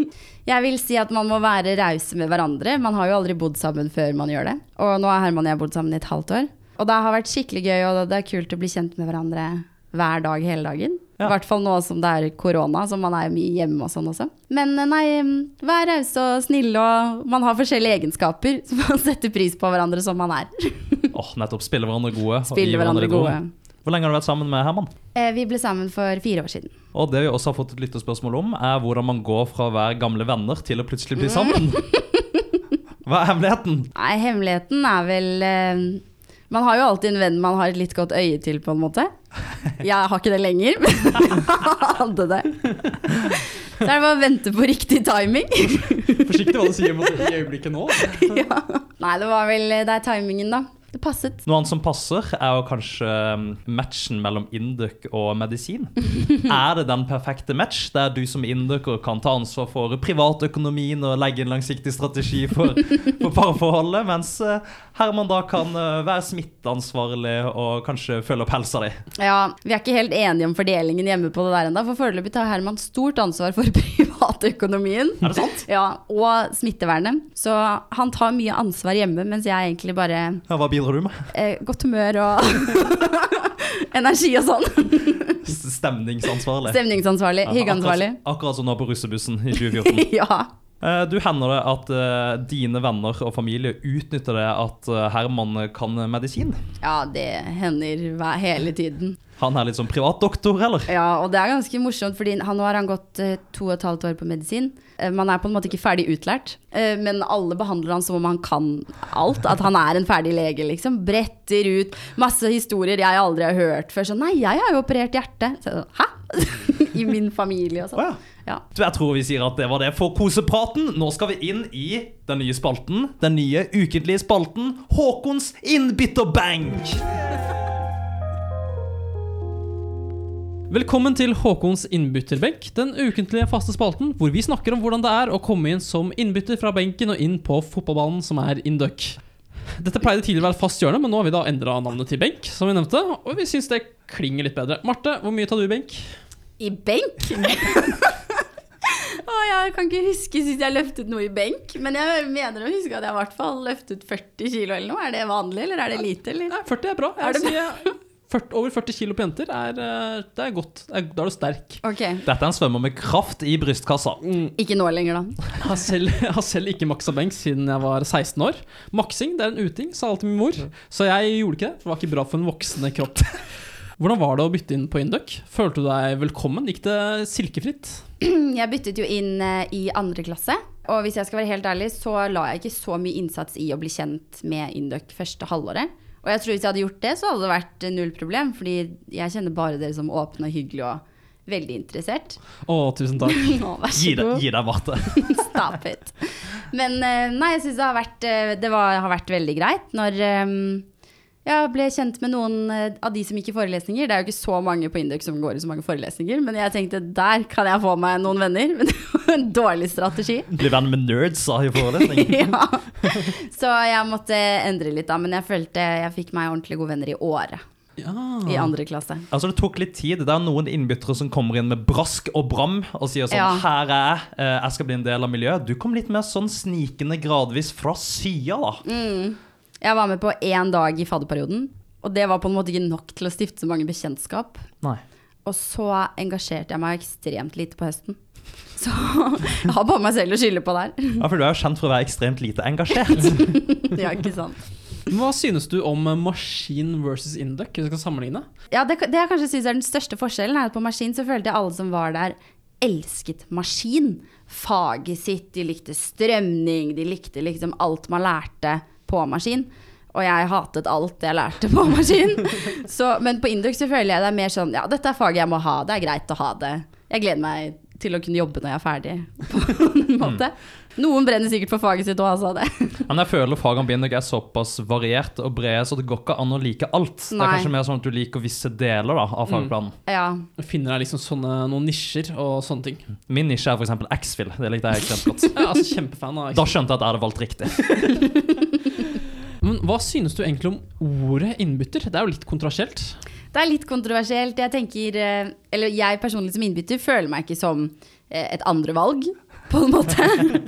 [SPEAKER 3] Jeg vil si at man må være rause med hverandre. Man har jo aldri bodd sammen før man gjør det. Og nå har Herman og jeg bodd sammen i et halvt år. Og det har vært skikkelig gøy, og det er kult å bli kjent med hverandre hver dag hele dagen. I
[SPEAKER 1] Ja.
[SPEAKER 3] hvert fall nå som det er korona, så man er jo mye hjemme og sånn også. Men eh, nei, mm, vær rause og snille, og man har forskjellige egenskaper, <laughs> så man setter pris på hverandre som man er.
[SPEAKER 1] Åh, nettopp. Spille hverandre gode. og gi
[SPEAKER 3] Spiller hverandre
[SPEAKER 1] det
[SPEAKER 3] gode.
[SPEAKER 1] Hvor lenge har du vært sammen med Herman?
[SPEAKER 3] Eh, Vi ble sammen for fire år siden.
[SPEAKER 1] Og det vi også har fått et lytterspørsmål om, er hvordan man går fra å være gamle venner til å plutselig
[SPEAKER 3] <laughs>
[SPEAKER 1] bli sammen. Hva er hemmeligheten?
[SPEAKER 3] Nei, hemmeligheten er vel eh, Man har jo alltid en venn man har et litt godt øye til, på en måte. Jeg har ikke det lenger, men <laughs> jeg hadde det. Så er det bare å vente på riktig timing. <laughs>
[SPEAKER 2] Forsiktig hva du sier mot det i øyeblikket nå.
[SPEAKER 3] ja. Nei, det var vel Det er timingen, da. Det passet.
[SPEAKER 1] Noe annet som passer, er jo kanskje um, matchen mellom induk og medisin. Er det den perfekte match, der du som induker kan ta ansvar for privatøkonomien og legge en langsiktig strategi for, for parforholdet, mens uh, Herman da kan uh, være smitteansvarlig og kanskje følge opp helsa di?
[SPEAKER 3] Ja, Vi er ikke helt enige om fordelingen hjemme på det der ennå, for foreløpig tar Herman stort ansvar for <laughs> privatøkonomien.
[SPEAKER 1] Er det sant?
[SPEAKER 3] Ja, og smittevernet. Så han tar mye ansvar hjemme, mens jeg egentlig bare
[SPEAKER 1] Ja, Hva bidrar du med?
[SPEAKER 3] eh, Godt humør og <laughs> energi og sånn.
[SPEAKER 1] S- Stemningsansvarlig.
[SPEAKER 3] Stemningsansvarlig, hyggeansvarlig.
[SPEAKER 1] Akkurat, akkurat som nå på russebussen i 2014.
[SPEAKER 3] <laughs> ja.
[SPEAKER 1] Eh, Du hender det at eh, dine venner og familie utnytter det at eh, Herman kan medisin.
[SPEAKER 3] ja, det hender hver, hele tiden.
[SPEAKER 1] Han er litt sånn privatdoktor, eller?
[SPEAKER 3] Ja, og det er ganske morsomt, fordi han, nå har han gått eh, to og et halvt år på medisin. Eh, man er på en måte ikke ferdig utlært, eh, men alle behandler han som om han kan alt. At han er en ferdig lege, liksom. Bretter ut masse historier jeg aldri har hørt før. Sånn, nei, jeg har jo operert hjertet. Så, jeg sånn, Hæ? <laughs> I min familie
[SPEAKER 1] Å
[SPEAKER 3] og sånn.
[SPEAKER 1] ja.
[SPEAKER 3] Ja.
[SPEAKER 1] Du, Jeg tror vi sier at det var det for kosepraten. Nå skal vi inn i den nye spalten. Den nye ukentlige spalten Håkons innbytterbank.
[SPEAKER 2] Velkommen til Håkons innbytterbenk, den ukentlige faste spalten hvor vi snakker om hvordan det er å komme inn som innbytter fra benken og inn på fotballbanen som er Induck. Dette pleide tidligere å være et fast hjørne, men nå har vi da endra navnet til benk, som vi nevnte, og vi syns det
[SPEAKER 1] <laughs>
[SPEAKER 2] klinger litt bedre. Marte, hvor mye tar du i benk?
[SPEAKER 3] I benk? Å, jeg kan ikke huske sist jeg løftet noe i benk, men jeg mener å huske at jeg i hvert fall løftet 40 kilo eller noe. Er det vanlig, eller er det lite, eller?
[SPEAKER 2] Nei, 40 er bra. Jeg
[SPEAKER 3] Er det
[SPEAKER 2] sier 40, over 40 kilo på jenter er, eh, det er godt. Det er, da er du sterk.
[SPEAKER 3] Ok,
[SPEAKER 1] Dette er en svømmer med kraft i brystkassa.
[SPEAKER 2] Mm.
[SPEAKER 3] ikke nå lenger da. <clears throat>
[SPEAKER 2] Jeg har selv, jeg har selv ikke maksa benk siden jeg var 16 år. Maksing det er en uting, sa alltid min mor. Så jeg gjorde ikke det. for Det var ikke bra for en voksende kropp. Hvordan var det å bytte inn på Induc? Følte du deg velkommen? Gikk det silkefritt?
[SPEAKER 3] Jeg byttet jo inn eh, i andre klasse, og hvis jeg skal være helt ærlig, så la jeg ikke så mye innsats i å bli kjent med Induc første halvåret. Og jeg tror hvis jeg hadde gjort det, så hadde det vært eh, null problem, fordi jeg kjenner bare dere som åpne og hyggelige og veldig interessert. <laughs>
[SPEAKER 2] Å, tusen takk.
[SPEAKER 3] Å, vær så
[SPEAKER 1] Gi deg,
[SPEAKER 3] god.
[SPEAKER 1] gi deg Marte.
[SPEAKER 3] <laughs> Stop it. Men eh, nei, jeg syns det, har vært, eh, det var, har vært veldig greit når eh, jeg ble kjent med noen eh, av de som gikk i forelesninger. Det er jo ikke så mange på Induk som går i så mange forelesninger, men jeg tenkte der kan jeg få meg noen venner. <laughs> Men det var en dårlig strategi.
[SPEAKER 1] Bli venn med nerds, sa jeg i forelesning.
[SPEAKER 3] <laughs> Ja. Så jeg måtte endre litt da, men jeg følte jeg fikk meg ordentlig gode venner i året.
[SPEAKER 2] Ja.
[SPEAKER 3] I andre klasse.
[SPEAKER 1] Altså, det tok litt tid. Det er noen innbyttere som kommer inn med brask og bram og sier sånn
[SPEAKER 3] Ja.
[SPEAKER 1] Her er jeg, eh, jeg skal bli en del av miljøet. Du kom litt mer sånn snikende gradvis fra sida, da.
[SPEAKER 3] Mm. Jeg var med på én dag i fadderperioden, og det var på en måte ikke nok til å stifte så mange bekjentskap.
[SPEAKER 1] Nei.
[SPEAKER 3] Og så engasjerte jeg meg ekstremt lite på høsten. Så <laughs> jeg har bare meg selv å skylde på der. <laughs>
[SPEAKER 1] Ja, for du er jo kjent for å være ekstremt lite engasjert.
[SPEAKER 3] Ja, ikke sant?
[SPEAKER 2] Men Hva synes du om eh, maskin versus Induc, hvis vi skal sammenligne?
[SPEAKER 3] Ja, det, det jeg kanskje syns er den største forskjellen, er at på maskin så følte jeg alle som var der, elsket maskin. Faget sitt, de likte strømning, de likte liksom alt man lærte på maskin. Og jeg hatet alt jeg lærte på maskin. Så, men på Induk så føler jeg det er mer sånn ja, dette er faget jeg må ha, det er greit å ha det. Jeg gleder meg til å kunne jobbe når jeg er ferdig, <laughs> på en måte. Noen brenner sikkert for faget sitt òg, altså. Det.
[SPEAKER 1] Men jeg føler fagene mine er såpass variert og brede, så det går ikke an å like alt. Det er
[SPEAKER 3] Nei. Mm.
[SPEAKER 1] kanskje mer sånn at du liker visse deler da, av fagplanen.
[SPEAKER 3] Ja.
[SPEAKER 2] Finner deg liksom sånne, noen nisjer og sånne ting.
[SPEAKER 1] Min nisje er f.eks. X-Fill. Det likte
[SPEAKER 3] <laughs>
[SPEAKER 1] jeg ekstremt godt.
[SPEAKER 2] Jeg er altså kjempefan av
[SPEAKER 1] Da skjønte jeg at jeg hadde valgt riktig.
[SPEAKER 2] Men hva synes du egentlig om ordet innbytter? Det er jo litt kontrasielt.
[SPEAKER 3] Det er litt kontroversielt. Jeg tenker eh, Eller jeg personlig som innbytter føler meg ikke som eh, et andre valg, på en måte.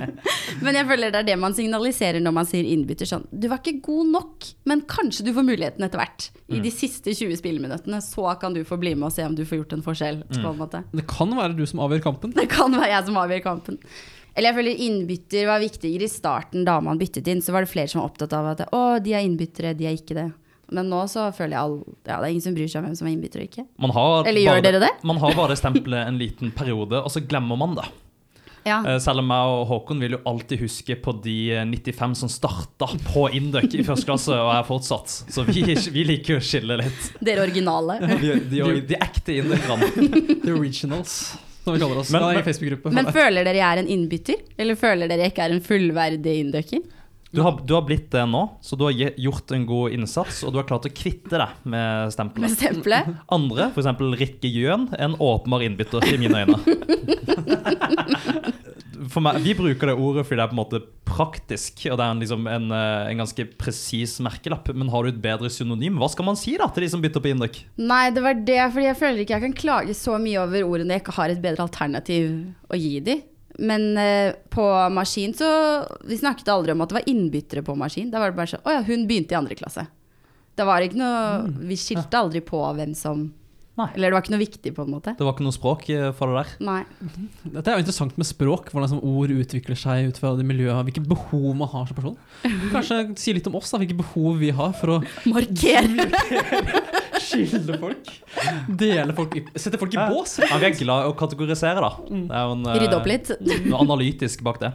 [SPEAKER 3] <laughs> men jeg føler det er det man signaliserer når man sier innbytter sånn Du var ikke god nok, men kanskje du får muligheten etter hvert. I de siste 20 spilleminuttene, så kan du få bli med og se om du får gjort en forskjell, på en måte.
[SPEAKER 2] Det kan være du som avgjør kampen.
[SPEAKER 3] Det kan være jeg som avgjør kampen. Eller jeg føler innbytter var viktigere i starten, da man byttet inn. Så var det flere som var opptatt av at å, de er innbyttere, de er ikke det. Men nå så føler jeg all, ja, det er ingen som bryr seg om hvem som er innbytter og ikke.
[SPEAKER 1] Man har
[SPEAKER 3] <laughs> Eller gjør
[SPEAKER 1] bare
[SPEAKER 3] dere det?
[SPEAKER 1] <laughs> Man har bare det stempelet en liten periode, og så glemmer man det.
[SPEAKER 3] Ja.
[SPEAKER 1] Eh, Selv om jeg og Håkon vil jo alltid huske på de eh, 95 som starta på Induc i første klasse og er fortsatt. Så vi, <laughs> vi liker jo å skille litt.
[SPEAKER 3] Dere originale.
[SPEAKER 1] De, de, de ekte Inducerne.
[SPEAKER 2] The originals, som vi kaller oss.
[SPEAKER 1] Men-
[SPEAKER 2] Men,
[SPEAKER 1] men-
[SPEAKER 2] i Facebook-gruppe.
[SPEAKER 3] Men føler dere jeg er en innbytter? Eller føler dere jeg ikke er en fullverdig inndukker?
[SPEAKER 1] Du har, du har blitt det nå, så du har ge- gjort en god innsats, og du har klart å kvitte deg med
[SPEAKER 3] Med
[SPEAKER 1] stempelet.
[SPEAKER 3] stempelet?
[SPEAKER 1] Andre, f.eks. Rikke Jøen, en åpenbar innbytter i mine øyne. For meg, vi bruker det ordet fordi det er på en måte praktisk, og det er en, liksom en, eh, en ganske presis merkelapp. Men har du et bedre synonym? Hva skal man si da til de som bytter på Induc?
[SPEAKER 3] Nei, det var det, fordi jeg føler ikke jeg kan klage så mye over ordene jeg ikke har et bedre alternativ å gi de. Men eh, på maskin så Vi snakket aldri om at det var innbyttere på maskin. Da var det bare sånn Å ja, hun begynte i andre klasse. Det var ikke noe Vi skilte aldri på hvem som
[SPEAKER 1] Nei.
[SPEAKER 3] Eller det var ikke noe viktig, på en måte.
[SPEAKER 1] Det var ikke noe språk eh, for det der.
[SPEAKER 3] Nei.
[SPEAKER 2] Dette er jo interessant med språk, hvordan sånn ord utvikler seg ut fra det miljøet, hvilke behov man har som person. Kanskje si litt om oss, da, hvilke behov vi har for å
[SPEAKER 3] Marker!
[SPEAKER 2] skille folk. Dele folk, i- sette folk i
[SPEAKER 1] Ja.
[SPEAKER 2] bås.
[SPEAKER 1] Ja, vi er glad i å kategorisere, da. Det er jo en, eh,
[SPEAKER 3] Mm. Rydde opp litt.
[SPEAKER 1] Noe analytisk bak det.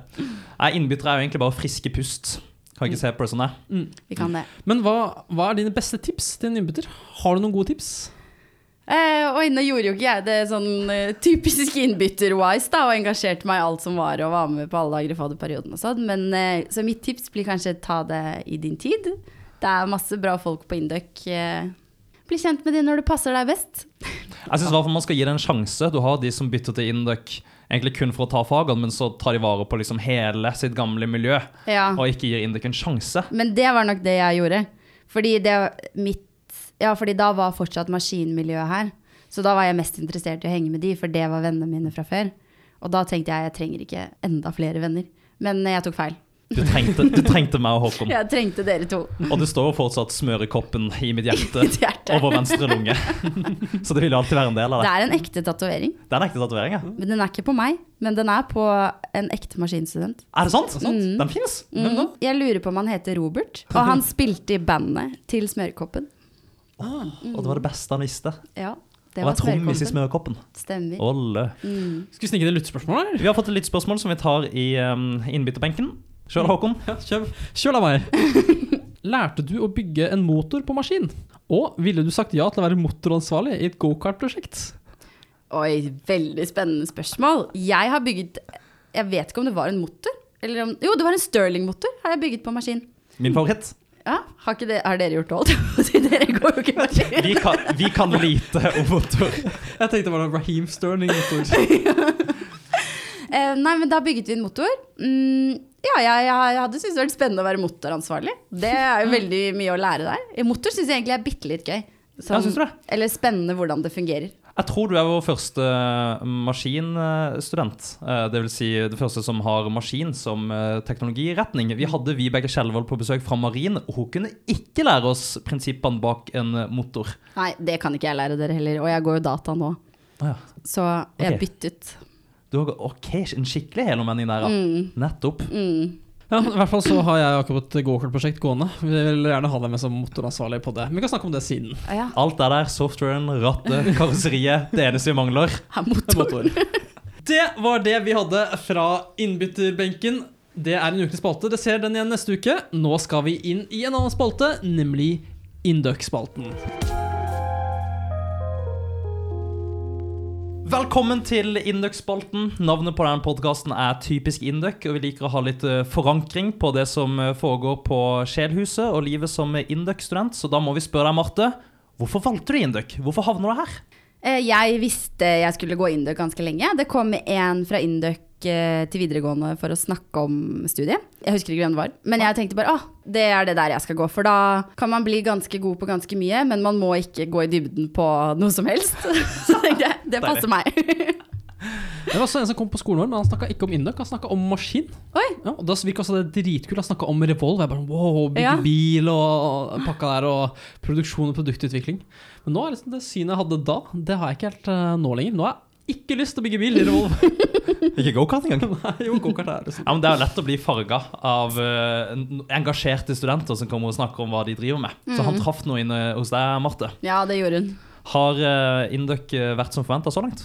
[SPEAKER 1] Nei, Innbyttere er jo egentlig bare friske pust. Kan
[SPEAKER 3] Mm.
[SPEAKER 1] ikke se på det sånn, jeg.
[SPEAKER 3] Vi kan det.
[SPEAKER 2] Men hva, hva er dine beste tips til en innbytter? Har du noen gode tips?
[SPEAKER 3] Eh, og nå gjorde jo ikke jeg det sånn eh, typisk innbytter-wise, da, og engasjerte meg i alt som var, og var med på alle dager i fadderperioden og sånn, men eh, så mitt tips blir kanskje ta det i din tid. Det er masse bra folk på Induc. Eh, bli kjent med de når det passer deg best.
[SPEAKER 1] Jeg syns man skal gi det en sjanse. Du har de som bytter til Induc egentlig kun for å ta fagene, men så tar de vare på liksom hele sitt gamle miljø
[SPEAKER 3] Ja.
[SPEAKER 1] og ikke gir Induc en sjanse.
[SPEAKER 3] Men det var nok det jeg gjorde. Fordi det mitt Ja, fordi da var fortsatt maskinmiljøet her. Så da var jeg mest interessert i å henge med de, for det var vennene mine fra før. Og Og da tenkte jeg jeg trenger ikke enda flere venner. Men eh, jeg tok feil.
[SPEAKER 1] Du trengte, du trengte meg og
[SPEAKER 3] <laughs>
[SPEAKER 1] Håkon.
[SPEAKER 3] Jeg trengte dere to.
[SPEAKER 1] Og det står jo fortsatt smørekoppen i mitt hjerte
[SPEAKER 3] <laughs> I mitt hjerte.
[SPEAKER 1] over venstre
[SPEAKER 3] <laughs>
[SPEAKER 1] lunge. Så det vil jo alltid være en del av
[SPEAKER 3] Det
[SPEAKER 1] det.
[SPEAKER 3] er en ekte tatovering.
[SPEAKER 1] Det er en ekte tatovering, ja.
[SPEAKER 3] Men Den er ikke på meg, men den er på en ekte maskinstudent.
[SPEAKER 1] Er det sant?
[SPEAKER 3] Mm.
[SPEAKER 1] Den fins?
[SPEAKER 3] Mm. Jeg lurer på om han heter Robert, og han spilte i bandet til Smørkoppen.
[SPEAKER 1] Ah,
[SPEAKER 3] Mhm.
[SPEAKER 1] Og det var det beste han visste.
[SPEAKER 3] Ja, Mm. det
[SPEAKER 1] Det var
[SPEAKER 3] var
[SPEAKER 1] trommis i
[SPEAKER 3] Smørkoppen.
[SPEAKER 1] smørkoppen.
[SPEAKER 3] Stemmer.
[SPEAKER 1] Olle.
[SPEAKER 3] Mm.
[SPEAKER 2] Skal vi snike inn et lyttespørsmål, eller?
[SPEAKER 1] Vi har fått et litt spørsmål som vi tar i um, innbytterbenken. Sjøl, Håkon.
[SPEAKER 2] Ja, kjør, kjør da meg. Lærte du å bygge en motor på maskin? Og ville du sagt ja til å være motoransvarlig i et gokart-prosjekt?
[SPEAKER 3] Oi, veldig spennende spørsmål. Jeg har bygget Jeg vet ikke om det var en motor. Eller om, jo, det var en Stirling-motor har jeg bygget på maskin.
[SPEAKER 1] Min favoritt.
[SPEAKER 3] Ja, har, ikke det, har dere gjort det alt? <laughs> dere går jo ikke maskin.
[SPEAKER 1] Vi kan, vi kan lite om motor.
[SPEAKER 2] Jeg tenkte det var noe Raheem Sterling-motor.
[SPEAKER 3] Eh, nei, men da bygget vi en motor. Mm, ja, jeg, jeg, jeg hadde syntes det var litt spennende å være motoransvarlig. Det er jo veldig mye å lære der. I Motor syns jeg egentlig er bitte litt gøy. Sånn-
[SPEAKER 1] synes du det?
[SPEAKER 3] Eller spennende hvordan det fungerer.
[SPEAKER 1] Jeg tror du er vår første eh, maskinstudent. Eh, Det vil si det første som har maskin som eh, teknologiretning. Vi hadde Vibeke Skjelvold på besøk fra Marin, og hun kunne ikke lære oss prinsippene bak en eh, motor.
[SPEAKER 3] Nei, det kan ikke jeg lære dere heller, og jeg går jo data nå.
[SPEAKER 1] Å ja.
[SPEAKER 3] Så jeg
[SPEAKER 1] Ok.
[SPEAKER 3] byttet.
[SPEAKER 1] Du har OK, en skikkelig helomvending der, ja.
[SPEAKER 3] Mm,
[SPEAKER 1] Nettopp.
[SPEAKER 3] mm.
[SPEAKER 2] Ja, I hvert fall så har jeg akkurat et gokart-prosjekt gående. Vi vil gjerne ha deg med som motoransvarlig på det. Men vi kan snakke om det siden.
[SPEAKER 3] Å Ah, ja,
[SPEAKER 1] Alt er der. Softwaren, rattet, <laughs> karosseriet. Det eneste vi mangler.
[SPEAKER 3] her er motor.
[SPEAKER 2] Motor. Det var det vi hadde fra innbytterbenken. Det er en ukentlig spalte. Det ser den igjen neste uke. Nå skal vi inn i en annen spalte, nemlig Induck-spalten.
[SPEAKER 1] Velkommen til Induc-spalten. Navnet på denne podkasten er typisk Induc, og vi liker å ha litt eh, forankring på det som eh, foregår på Sjelhuset og livet som Induc-student, så da må vi spørre deg, Marte. Hvorfor valgte du Induc? Hvorfor havner du her?
[SPEAKER 3] Eh, Jeg visste jeg skulle gå Induc ganske lenge. Det kom en fra Induc eh, til videregående for å snakke om studiet. Jeg husker ikke hvem det var, men jeg tenkte bare ah, det er det der jeg skal gå. For da kan man bli ganske god på ganske mye, men man må ikke gå i dybden på noe som helst. <laughs> Så tenkte jeg det passer meg. <laughs>
[SPEAKER 2] Det var også en som kom på skolen vår, men han snakka ikke om Induck, han snakka om maskin.
[SPEAKER 3] Oi,
[SPEAKER 2] Ja, og da virka også det dritkult. Han snakka om Revolve. Jeg bare, wow, Bygge
[SPEAKER 3] Ja.
[SPEAKER 2] bil og pakka der, og produksjon og produktutvikling. Men nå er liksom det synet jeg hadde da, det har jeg ikke helt eh, nå lenger. Nå har jeg ikke lyst til å bygge bil i Revolve. <laughs>
[SPEAKER 1] Ikke gokart engang.
[SPEAKER 2] Nei, jo, gokart er
[SPEAKER 1] <laughs>
[SPEAKER 2] liksom
[SPEAKER 1] Ja, men det er jo lett å bli farga av eh, n- engasjerte studenter som kommer og snakker om hva de driver med. Så han traff noe inne hos deg, Marte.
[SPEAKER 3] ja det gjorde hun.
[SPEAKER 1] Har eh, Induc eh, vært som forventa så langt?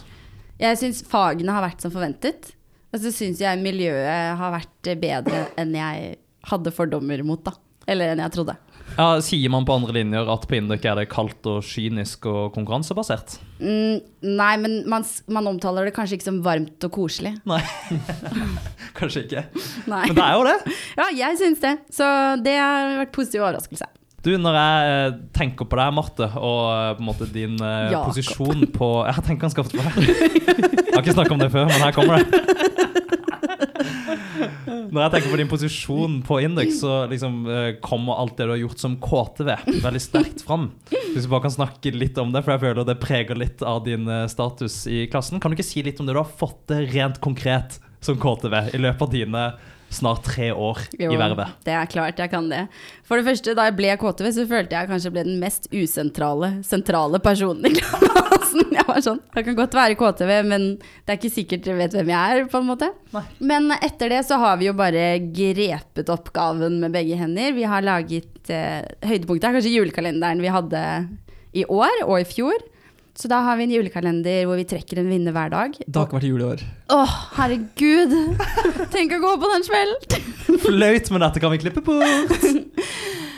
[SPEAKER 3] Jeg syns fagene har vært som forventet. Og så syns jeg miljøet har vært eh, bedre enn jeg hadde fordommer mot, da. Eller enn jeg trodde.
[SPEAKER 1] Ja, Sier man på andre linjer at på Induc er det kaldt og kynisk og konkurransebasert?
[SPEAKER 3] Mm, nei, men man, s- man omtaler det kanskje ikke som varmt og koselig.
[SPEAKER 1] Nei. Kanskje ikke.
[SPEAKER 3] Nei.
[SPEAKER 1] Men det er jo det.
[SPEAKER 3] Ja, jeg syns det. Så det har vært positiv overraskelse.
[SPEAKER 1] Du, når jeg eh, tenker på deg, Marte, og eh, på en måte din eh,
[SPEAKER 3] Jakob.
[SPEAKER 1] posisjon på <laughs> Jeg tenker ganske ofte på deg. Jeg har ikke snakket om det før, men her kommer det. <laughs> Når jeg tenker på din posisjon på Indux, så liksom eh, kommer alt det du har gjort som KTV, veldig sterkt fram. Hvis vi bare kan snakke litt om det, for jeg føler det preger litt av din eh, status i klassen. Kan du ikke si litt om det du har fått til rent konkret som KTV i løpet av dine snart tre år
[SPEAKER 3] Jo,
[SPEAKER 1] i vervet?
[SPEAKER 3] Det er klart jeg kan det. For det første, da jeg ble KTV, så følte jeg kanskje jeg ble den mest usentrale sentrale personen i <laughs> klassen. Jeg var sånn Jeg kan godt være KTV, men det er ikke sikkert dere vet hvem jeg er, på en måte.
[SPEAKER 1] Nei.
[SPEAKER 3] Men etter det så har vi jo bare grepet oppgaven med begge hender. Vi har laget eh, Høydepunktet er kanskje julekalenderen vi hadde i år og i fjor. Så da har vi en julekalender hvor vi trekker en vinner hver dag.
[SPEAKER 2] Det har ikke vært jul i år.
[SPEAKER 3] Åh, herregud! <laughs> Tenk å gå på den smellen!
[SPEAKER 1] Flaut, men dette kan vi klippe bort.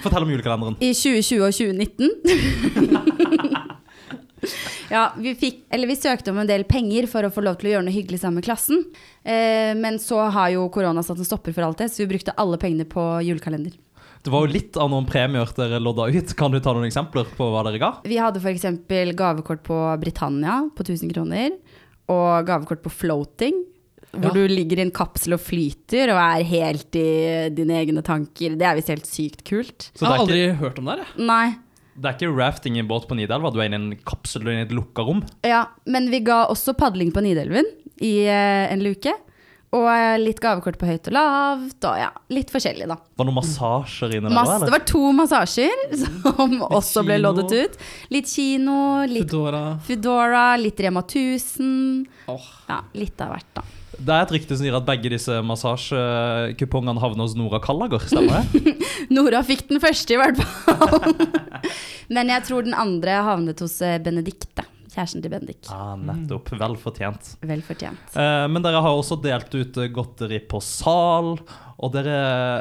[SPEAKER 1] Fortell om julekalenderen.
[SPEAKER 3] I 2020 og 2019. <laughs> ja, vi fikk Eller vi søkte om en del penger for å få lov til å gjøre noe hyggelig sammen med klassen. Eh, men så har jo korona satt en stopper for alt det, så vi brukte alle pengene på julekalender.
[SPEAKER 1] Det var jo litt av noen premier dere lodda ut. Kan du ta noen eksempler på hva dere ga?
[SPEAKER 3] Vi hadde f.eks. gavekort på Britannia på 1000 kroner. Og gavekort på floating, hvor
[SPEAKER 2] Ja.
[SPEAKER 3] du ligger i en kapsel og flyter og er helt i dine egne tanker. Det er visst helt sykt kult.
[SPEAKER 1] Så
[SPEAKER 2] jeg
[SPEAKER 1] det
[SPEAKER 2] har
[SPEAKER 1] er
[SPEAKER 2] aldri hørt om det her. jeg.
[SPEAKER 3] Nei.
[SPEAKER 1] Det er ikke rafting i en båt på Nidelva. Du er inne i en kapsel i et lukka rom.
[SPEAKER 3] Ja, men vi ga også padling på Nidelven i eh, en luke. Og eh, litt gavekort på høyt og lavt, og ja, litt forskjellig, da.
[SPEAKER 1] Var det noen massasjer inne der?
[SPEAKER 3] Masse,
[SPEAKER 1] eller?
[SPEAKER 3] det var to massasjer <laughs> som også ble
[SPEAKER 2] kino.
[SPEAKER 3] loddet ut. Litt kino, litt
[SPEAKER 2] Foodora.
[SPEAKER 3] Foodora, litt Rema 1000.
[SPEAKER 2] Åh.
[SPEAKER 3] Ja, litt av hvert, da.
[SPEAKER 1] Det er et rykte som sier at begge disse massasjekupongene havner hos Nora Kallager, stemmer det?
[SPEAKER 3] Nora fikk den første, i hvert fall. <laughs> men jeg tror den andre havnet hos eh, Benedicte. Kjæresten til Bendik.
[SPEAKER 1] ah, nettopp. Vel fortjent.
[SPEAKER 3] Vel fortjent.
[SPEAKER 1] Eh, men dere har også delt ut eh, godteri på sal. Og dere,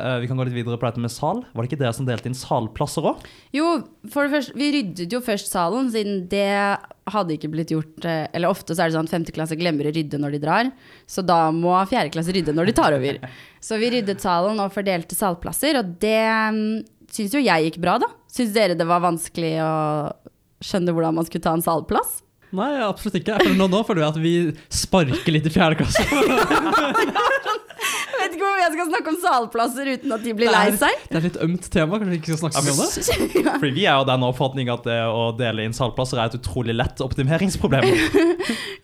[SPEAKER 1] eh, vi kan gå litt videre på dette med sal. Var det ikke dere som delte inn salplasser òg?
[SPEAKER 3] Jo, for det første, vi ryddet jo først salen, siden det hadde ikke blitt gjort eh, Eller ofte så er det sånn at femteklasse glemmer å rydde når de drar, så da må fjerdeklasse rydde når de tar over. Så vi ryddet salen og fordelte salplasser, og det mm, syns jo jeg gikk bra, da. Syns dere det var vanskelig å skjønne hvordan man skulle ta en salplass?
[SPEAKER 2] Nei, absolutt ikke. Jeg føler nå, nå føler jeg at vi sparker litt i fjerde klasse.
[SPEAKER 3] <laughs> Jeg vet ikke hvorfor jeg skal snakke om salplasser uten at de blir lei
[SPEAKER 2] Det er, det er et litt ømt tema, kanskje vi ikke skal snakke så mye om det?
[SPEAKER 3] seg.
[SPEAKER 1] Fordi vi er jo av den oppfatning at det å dele inn salplasser er et utrolig lett optimeringsproblem.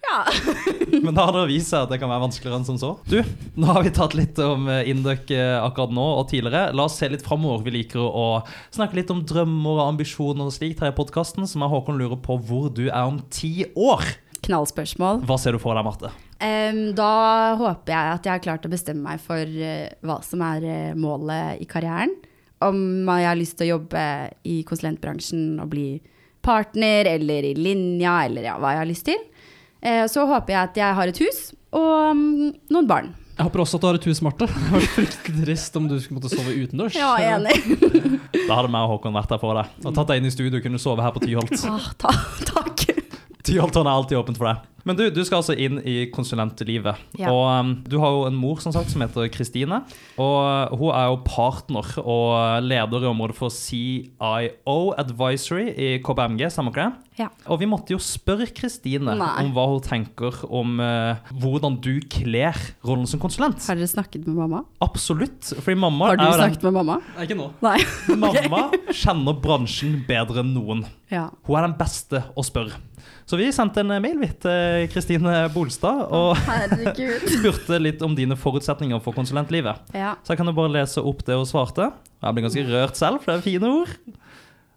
[SPEAKER 3] Ja.
[SPEAKER 1] <laughs> Men da har det vist seg at det kan være vanskeligere enn som så. Du, nå har vi tatt litt om eh, Induc eh, akkurat nå og tidligere. La oss se litt framover. Vi liker å snakke litt om drømmer og ambisjoner og slikt her i podkasten, som er Håkon lurer på hvor du er om ti år.
[SPEAKER 3] Knallspørsmål.
[SPEAKER 1] Hva ser du for deg, Marte?
[SPEAKER 3] Em, da håper jeg at jeg har klart å bestemme meg for eh, hva som er eh, målet i karrieren. Om jeg har lyst til å jobbe i konsulentbransjen og bli partner eller i linja, eller ja, hva jeg har lyst til. Eh, så håper jeg at jeg har et hus og mm, noen barn.
[SPEAKER 2] Jeg håper også at du har et hus, Marte. Det hadde vært fryktelig trist om du skulle måtte sove utendørs.
[SPEAKER 3] Ja, enig.
[SPEAKER 1] Da hadde meg og Håkon vært her for deg. Og tatt deg inn i studio og kunne sove her på Tyholt.
[SPEAKER 3] <laughs> Ah, ta, takk.
[SPEAKER 1] Tyholtårnet er alltid åpent for deg. Men du, du skal altså inn i konsulentlivet.
[SPEAKER 3] Ja.
[SPEAKER 1] Og um, du har jo en mor som sagt som heter Kristine. Og uh, hun er jo partner og leder i området for CIO Advisory i KBMG, stemmer ikke det?
[SPEAKER 3] Ja.
[SPEAKER 1] Og vi måtte jo spørre Kristine
[SPEAKER 3] Nei.
[SPEAKER 1] om hva hun tenker om uh, hvordan du kler rollen som konsulent.
[SPEAKER 3] Har dere snakket med mamma?
[SPEAKER 1] Absolutt. Fordi mamma
[SPEAKER 3] Har du
[SPEAKER 1] er jo
[SPEAKER 3] <laughs> snakket med mamma?
[SPEAKER 2] Nei, ikke nå.
[SPEAKER 3] Nei.
[SPEAKER 1] den Mamma kjenner bransjen bedre enn noen.
[SPEAKER 3] Ja.
[SPEAKER 1] Hun er den beste å spørre. Så vi sendte en mail vi, til Kristine Bolstad og
[SPEAKER 3] Herregud.
[SPEAKER 1] <laughs> spurte litt om dine forutsetninger for konsulentlivet.
[SPEAKER 3] <laughs> Ja.
[SPEAKER 1] Så jeg kan jo bare lese opp det hun svarte. Jeg ble ganske rørt selv, for det er fine ord.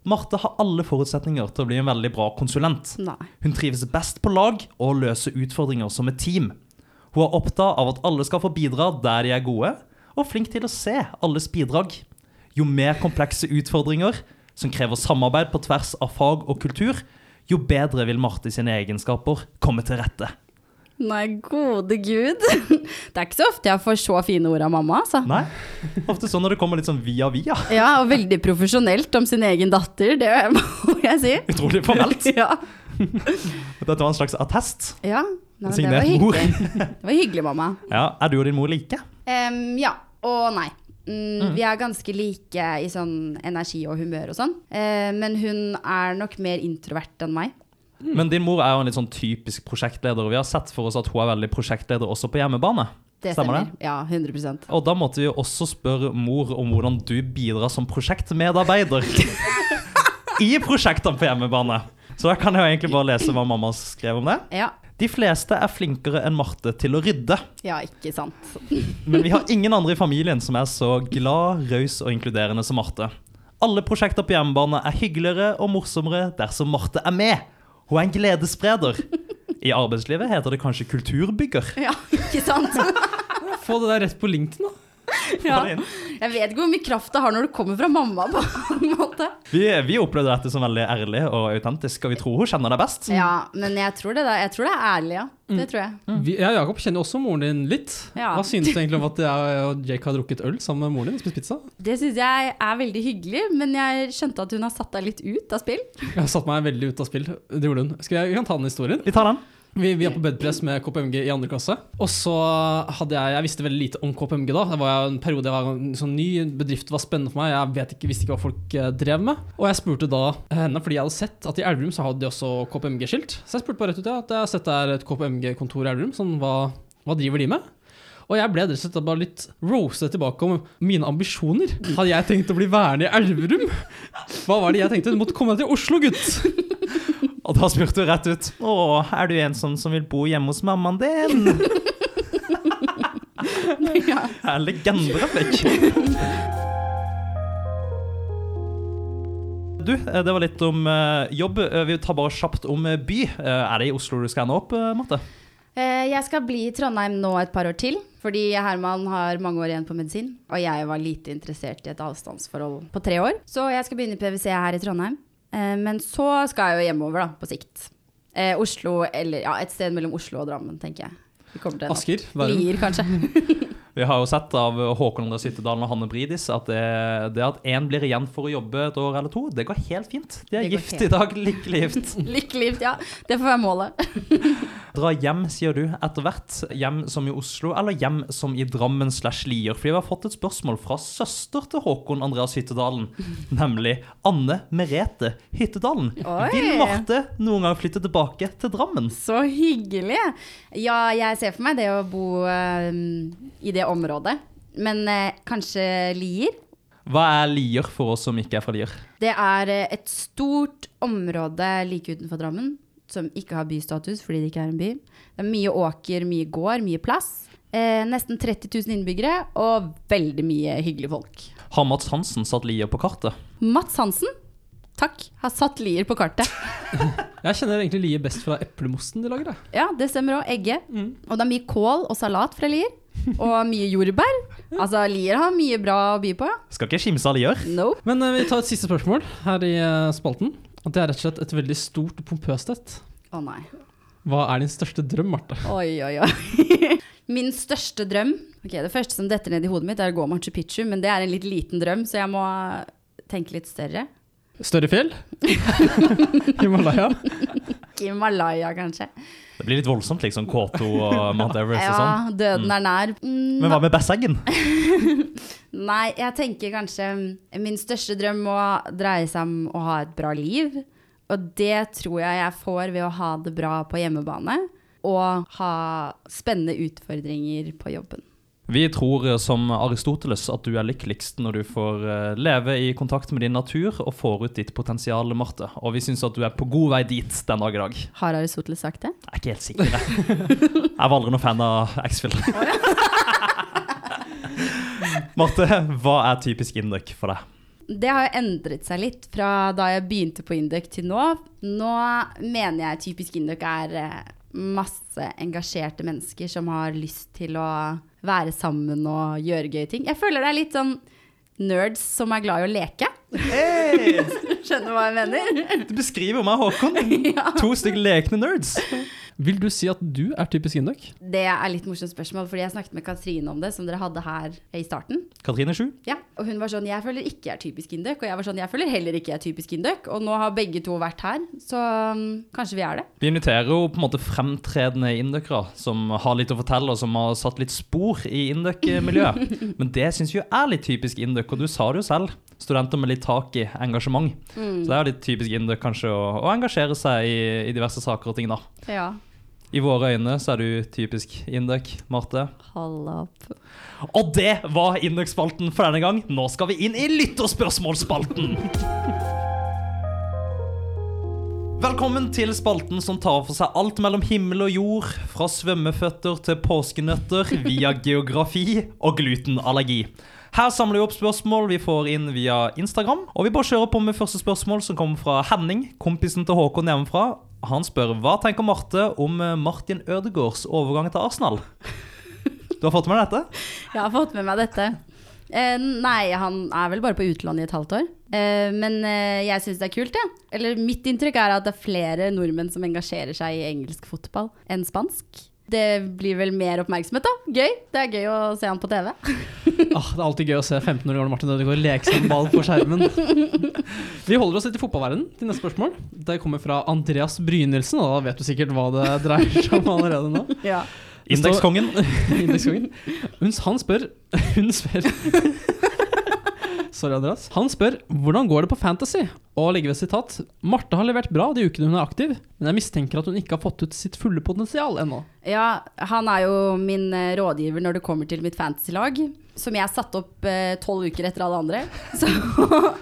[SPEAKER 1] Marte har alle forutsetninger til å bli en veldig bra konsulent.
[SPEAKER 3] Nei.
[SPEAKER 1] Hun trives best på lag og løser utfordringer som et team. Hun er opptatt av at alle skal få bidra der de er gode, og flink til å se alles bidrag. Jo mer komplekse utfordringer, som krever samarbeid på tvers av fag og kultur, jo bedre vil Marte sine egenskaper komme til rette.
[SPEAKER 3] Nei, gode gud. <laughs> Det er ikke så ofte jeg får så fine ord av mamma, altså.
[SPEAKER 1] Nei, ofte sånn når det kommer litt sånn via via.
[SPEAKER 3] Ja, og veldig profesjonelt om sin egen datter, det <laughs> må jeg si.
[SPEAKER 1] Utrolig formelt.
[SPEAKER 3] <laughs> Ja.
[SPEAKER 1] Dette var en slags attest.
[SPEAKER 3] ja. Nei, men det var
[SPEAKER 1] Signert mor.
[SPEAKER 3] hyggelig. <laughs> Det var hyggelig, mamma.
[SPEAKER 1] Ja, Er du og din mor like?
[SPEAKER 3] Em, ja, og nei. Mm, Vi er ganske like i sånn energi og humør og sånn. Eh, men hun er nok mer introvert enn meg.
[SPEAKER 1] Men din mor er jo en litt sånn typisk prosjektleder, og vi har sett for oss at hun er veldig prosjektleder også på hjemmebane.
[SPEAKER 3] Det
[SPEAKER 1] Stemmer
[SPEAKER 3] stemmer. Ja, 100
[SPEAKER 1] Og da måtte vi jo også spørre mor om hvordan du bidrar som prosjektmedarbeider i prosjektene på hjemmebane. Så da kan jeg jo egentlig bare lese hva mamma skrev om det.
[SPEAKER 3] Ja.
[SPEAKER 1] De fleste er flinkere enn Marte til å rydde,
[SPEAKER 3] ja, ikke sant. <laughs>
[SPEAKER 1] men vi har ingen andre i familien som er så glad, raus og inkluderende som Marte. Alle prosjekter på hjemmebane er hyggeligere og morsommere dersom Marte er med. Hun er en gledesspreder. I arbeidslivet heter det kanskje kulturbygger.
[SPEAKER 3] Ja, ikke <laughs> sant.
[SPEAKER 2] Få det der rett på LinkedIn, da.
[SPEAKER 3] Ja. Jeg vet ikke hvor mye kraft det har når det kommer fra mamma, på en måte.
[SPEAKER 1] Vi, vi opplevde dette som veldig ærlig og autentisk, og vi tror hun kjenner deg best.
[SPEAKER 3] Ja, men jeg tror det, da. Jeg tror det er ærlig, ja. Det tror jeg.
[SPEAKER 2] Vi, jeg og Jakob kjenner jo også moren din litt.
[SPEAKER 3] Ja.
[SPEAKER 2] Hva synes du egentlig om at jeg og Jake har drukket øl sammen med moren din og spist pizza?
[SPEAKER 3] Det syns jeg er veldig hyggelig, men jeg skjønte at hun har satt deg litt ut av <laughs> spill.
[SPEAKER 2] Jeg har satt meg veldig ut av spill. Det gjorde hun. Skal jeg, jeg kan ta den historien?
[SPEAKER 1] Vi tar den.
[SPEAKER 2] Vi, vi er på bedpress med KPMG i andre klasse. Og så hadde jeg Jeg visste veldig lite om KPMG da. Det var en periode jeg var sånn ny, bedrift var spennende for meg. Jeg vet ikke, visste ikke hva folk eh, drev med. Og jeg spurte da henne, fordi jeg hadde sett at i Elverum så hadde de også KPMG-skilt. Så jeg spurte bare rett ut ja, at jeg har sett det er et KPMG-kontor i Elverum. Sånn, hva, hva driver de med? Og Og jeg ble rett og slett bare litt roset tilbake om mine ambisjoner. Hadde jeg tenkt å bli værende i Elverum? Hva var det jeg tenkte? Du måtte komme deg til Oslo, gutt!
[SPEAKER 1] Og da spurte hun rett ut Å, er du en sånn som vil bo hjemme hos mammaen din? <laughs>
[SPEAKER 3] Ja.
[SPEAKER 1] Det er en legendereplikk. Du, eh, det var litt om eh, jobb. Eh, Vi tar bare kjapt om eh, by. Eh, Er det i Oslo du skal ende opp, eh, Marte?
[SPEAKER 3] Eh, Jeg skal bli i Trondheim nå et par år til, fordi Herman har mange år igjen på medisin. Og jeg var lite interessert i et avstandsforhold på tre år. Så jeg skal begynne i PwC her i Trondheim. Eh, Men så skal jeg jo hjemover, da, på sikt. Eh, Oslo, eller ja, et sted mellom Oslo og Drammen, tenker jeg. Vi kommer til en
[SPEAKER 2] Asker, Værum.
[SPEAKER 3] Lier, kanskje.
[SPEAKER 1] Vi har jo sett av eh, Håkon André Syttedalen og Hanne Bridis at det, det at én blir igjen for å jobbe et år eller to, det går helt fint. De er
[SPEAKER 3] Det går
[SPEAKER 1] gift
[SPEAKER 3] helt-
[SPEAKER 1] i dag. Lykkelig gift.
[SPEAKER 3] Lykkelig gift, ja. Det får være målet.
[SPEAKER 1] Dra hjem, sier du, etter hvert. Hjem som i Oslo, eller hjem som i Drammen slash Lier? Fordi vi har fått et spørsmål fra søster til Håkon Andreas
[SPEAKER 3] <laughs>
[SPEAKER 1] Hyttedalen, nemlig Anne Merete Hyttedalen.
[SPEAKER 3] Oi.
[SPEAKER 1] Vil Marte noen gang flytte tilbake til Drammen?
[SPEAKER 3] Så hyggelig! Ja, jeg ser for meg det å bo eh, i det området. Men eh, kanskje Lier?
[SPEAKER 1] Hva er Lier for oss som ikke er fra Lier?
[SPEAKER 3] Det er eh, et stort område like utenfor Drammen som ikke har bystatus fordi det ikke er en by. Det er mye åker, mye gård, mye plass. Eh, nesten 30 000 innbyggere og veldig mye hyggelige folk.
[SPEAKER 1] Har Mats Hansen satt Lier på kartet?
[SPEAKER 3] Mats Hansen, takk, har satt Lier på kartet.
[SPEAKER 2] Jeg kjenner egentlig Lier best fra eplemosten de lager. Jeg.
[SPEAKER 3] Ja, det stemmer òg. Egge.
[SPEAKER 1] Mm.
[SPEAKER 3] Og det er mye kål og salat fra Lier. Og mye jordbær. Altså, Lier har mye bra å by på.
[SPEAKER 1] Skal ikke kimse av Lier.
[SPEAKER 3] No.
[SPEAKER 2] Men eh, vi tar et siste spørsmål her i eh, spalten. Og det er rett og slett et veldig stort og pompøst et.
[SPEAKER 3] Å nei.
[SPEAKER 2] Hva er din største drøm, Marte?
[SPEAKER 3] Oi, oi, oi. <laughs> Min største drøm Ok, Det første som detter ned i hodet mitt, er å gå Machu Picchu, men det er en litt liten drøm, så jeg må tenke litt større.
[SPEAKER 2] Større fjell? <laughs> Himalaya?
[SPEAKER 3] Himalaya, kanskje.
[SPEAKER 1] Det blir litt voldsomt, liksom. K2
[SPEAKER 3] <laughs>
[SPEAKER 1] og Mount Everest og sånn.
[SPEAKER 3] Ja, døden er nær. Mm,
[SPEAKER 1] Men hva med Besseggen?
[SPEAKER 3] Nei, jeg tenker kanskje mm, Min største drøm må dreie seg om å ha et bra liv. Og det tror jeg jeg får ved å ha det bra på hjemmebane. Og ha spennende utfordringer på jobben.
[SPEAKER 1] Vi tror eh, som Aristoteles at du er lykkeligst når du får eh, leve i kontakt med din natur og får ut ditt potensial, Marte. Og vi syns at du er på god vei dit den dag i dag. Jeg
[SPEAKER 3] Har Aristoteles sagt det?
[SPEAKER 1] er ikke helt sikker. Jeg, jeg var aldri noen fan av X-Fill. <laughs> Marte, hva er typisk induk for deg?
[SPEAKER 3] Det har jo endret seg litt fra da jeg begynte på Induc til nå. Nå mener jeg typisk Induc er eh, masse engasjerte mennesker som har lyst til å være sammen og gjøre gøye ting. Jeg føler det er litt sånn nerds som er glad i å leke. <laughs> Skjønner du hva jeg mener? <laughs>
[SPEAKER 1] Du beskriver meg, Håkon. To stykker lekne nerds.
[SPEAKER 2] Vil du si at du er typisk indok?
[SPEAKER 3] Det er litt morsomt spørsmål, fordi jeg snakket med Katrine om det, som dere hadde her i starten.
[SPEAKER 1] Katrine Sju.
[SPEAKER 3] Ja, og hun var sånn, jeg føler ikke jeg er typisk indøk, og jeg var sånn, jeg føler heller ikke jeg er typisk indøk, og nå har begge to vært her, så mm, kanskje vi er det.
[SPEAKER 1] Vi inviterer jo på en måte fremtredende indøkere som har litt å fortelle, og som har satt litt spor i indøk-miljøet. Men det syns jo er litt typisk indøk, og du sa det jo selv. Studenter med litt tak i engasjement.
[SPEAKER 3] Mm.
[SPEAKER 1] Så det er jo litt typisk indøk kanskje å, å engasjere seg i, i diverse saker og ting, da.
[SPEAKER 3] Ja,
[SPEAKER 1] I våre øyne så er du typisk indøk, Marte.
[SPEAKER 3] hold opp.
[SPEAKER 1] Og det var Indøk-spalten for denne gang. Nå skal vi inn i lytterspørsmålsspalten. Velkommen til spalten som tar for seg alt mellom himmel og jord. Fra svømmeføtter til påskenøtter, via geografi og glutenallergi. Her samler vi opp spørsmål vi får inn via Instagram. Og vi bare kjører på med første spørsmål, som kommer fra Henning, kompisen til Håkon hjemmefra. Han spør hva tenker Marte om eh, Martin Ødegaards overgang til Arsenal? Du har fått med deg dette?
[SPEAKER 3] Jeg har fått med meg dette. Eh, nei, han er vel bare på utlandet i et halvt år. Eh, men eh, jeg syns det er kult, jeg. Ja. Eller mitt inntrykk er at det er flere nordmenn som engasjerer seg i engelsk fotball enn spansk. Det blir vel mer oppmerksomhet, da. Gøy. Det er gøy å se han på TV.
[SPEAKER 2] Ah, det er alltid gøy å se 15 år gamle Martin Ødegaard leke som en ball på skjermen. <laughs> Vi holder oss litt i fotballverdenen til neste spørsmål. Det kommer fra Andreas Brynildsen, og da vet du sikkert hva det dreier seg om allerede nå.
[SPEAKER 3] Ja.
[SPEAKER 1] Indekskongen. <laughs>
[SPEAKER 2] <laughs> Indekskongen. Hun, han spør Hun spør <laughs> Sorry, Andreas. Han spør hvordan går det på Fantasy, og legger ved sitat Marte har levert bra de ukene hun er aktiv, men jeg mistenker at hun ikke har fått ut sitt fulle potensial ennå.
[SPEAKER 3] Ja, han er jo min eh, rådgiver når det kommer til mitt fantasy-lag, som jeg satte opp eh, tolv uker etter alle andre. Så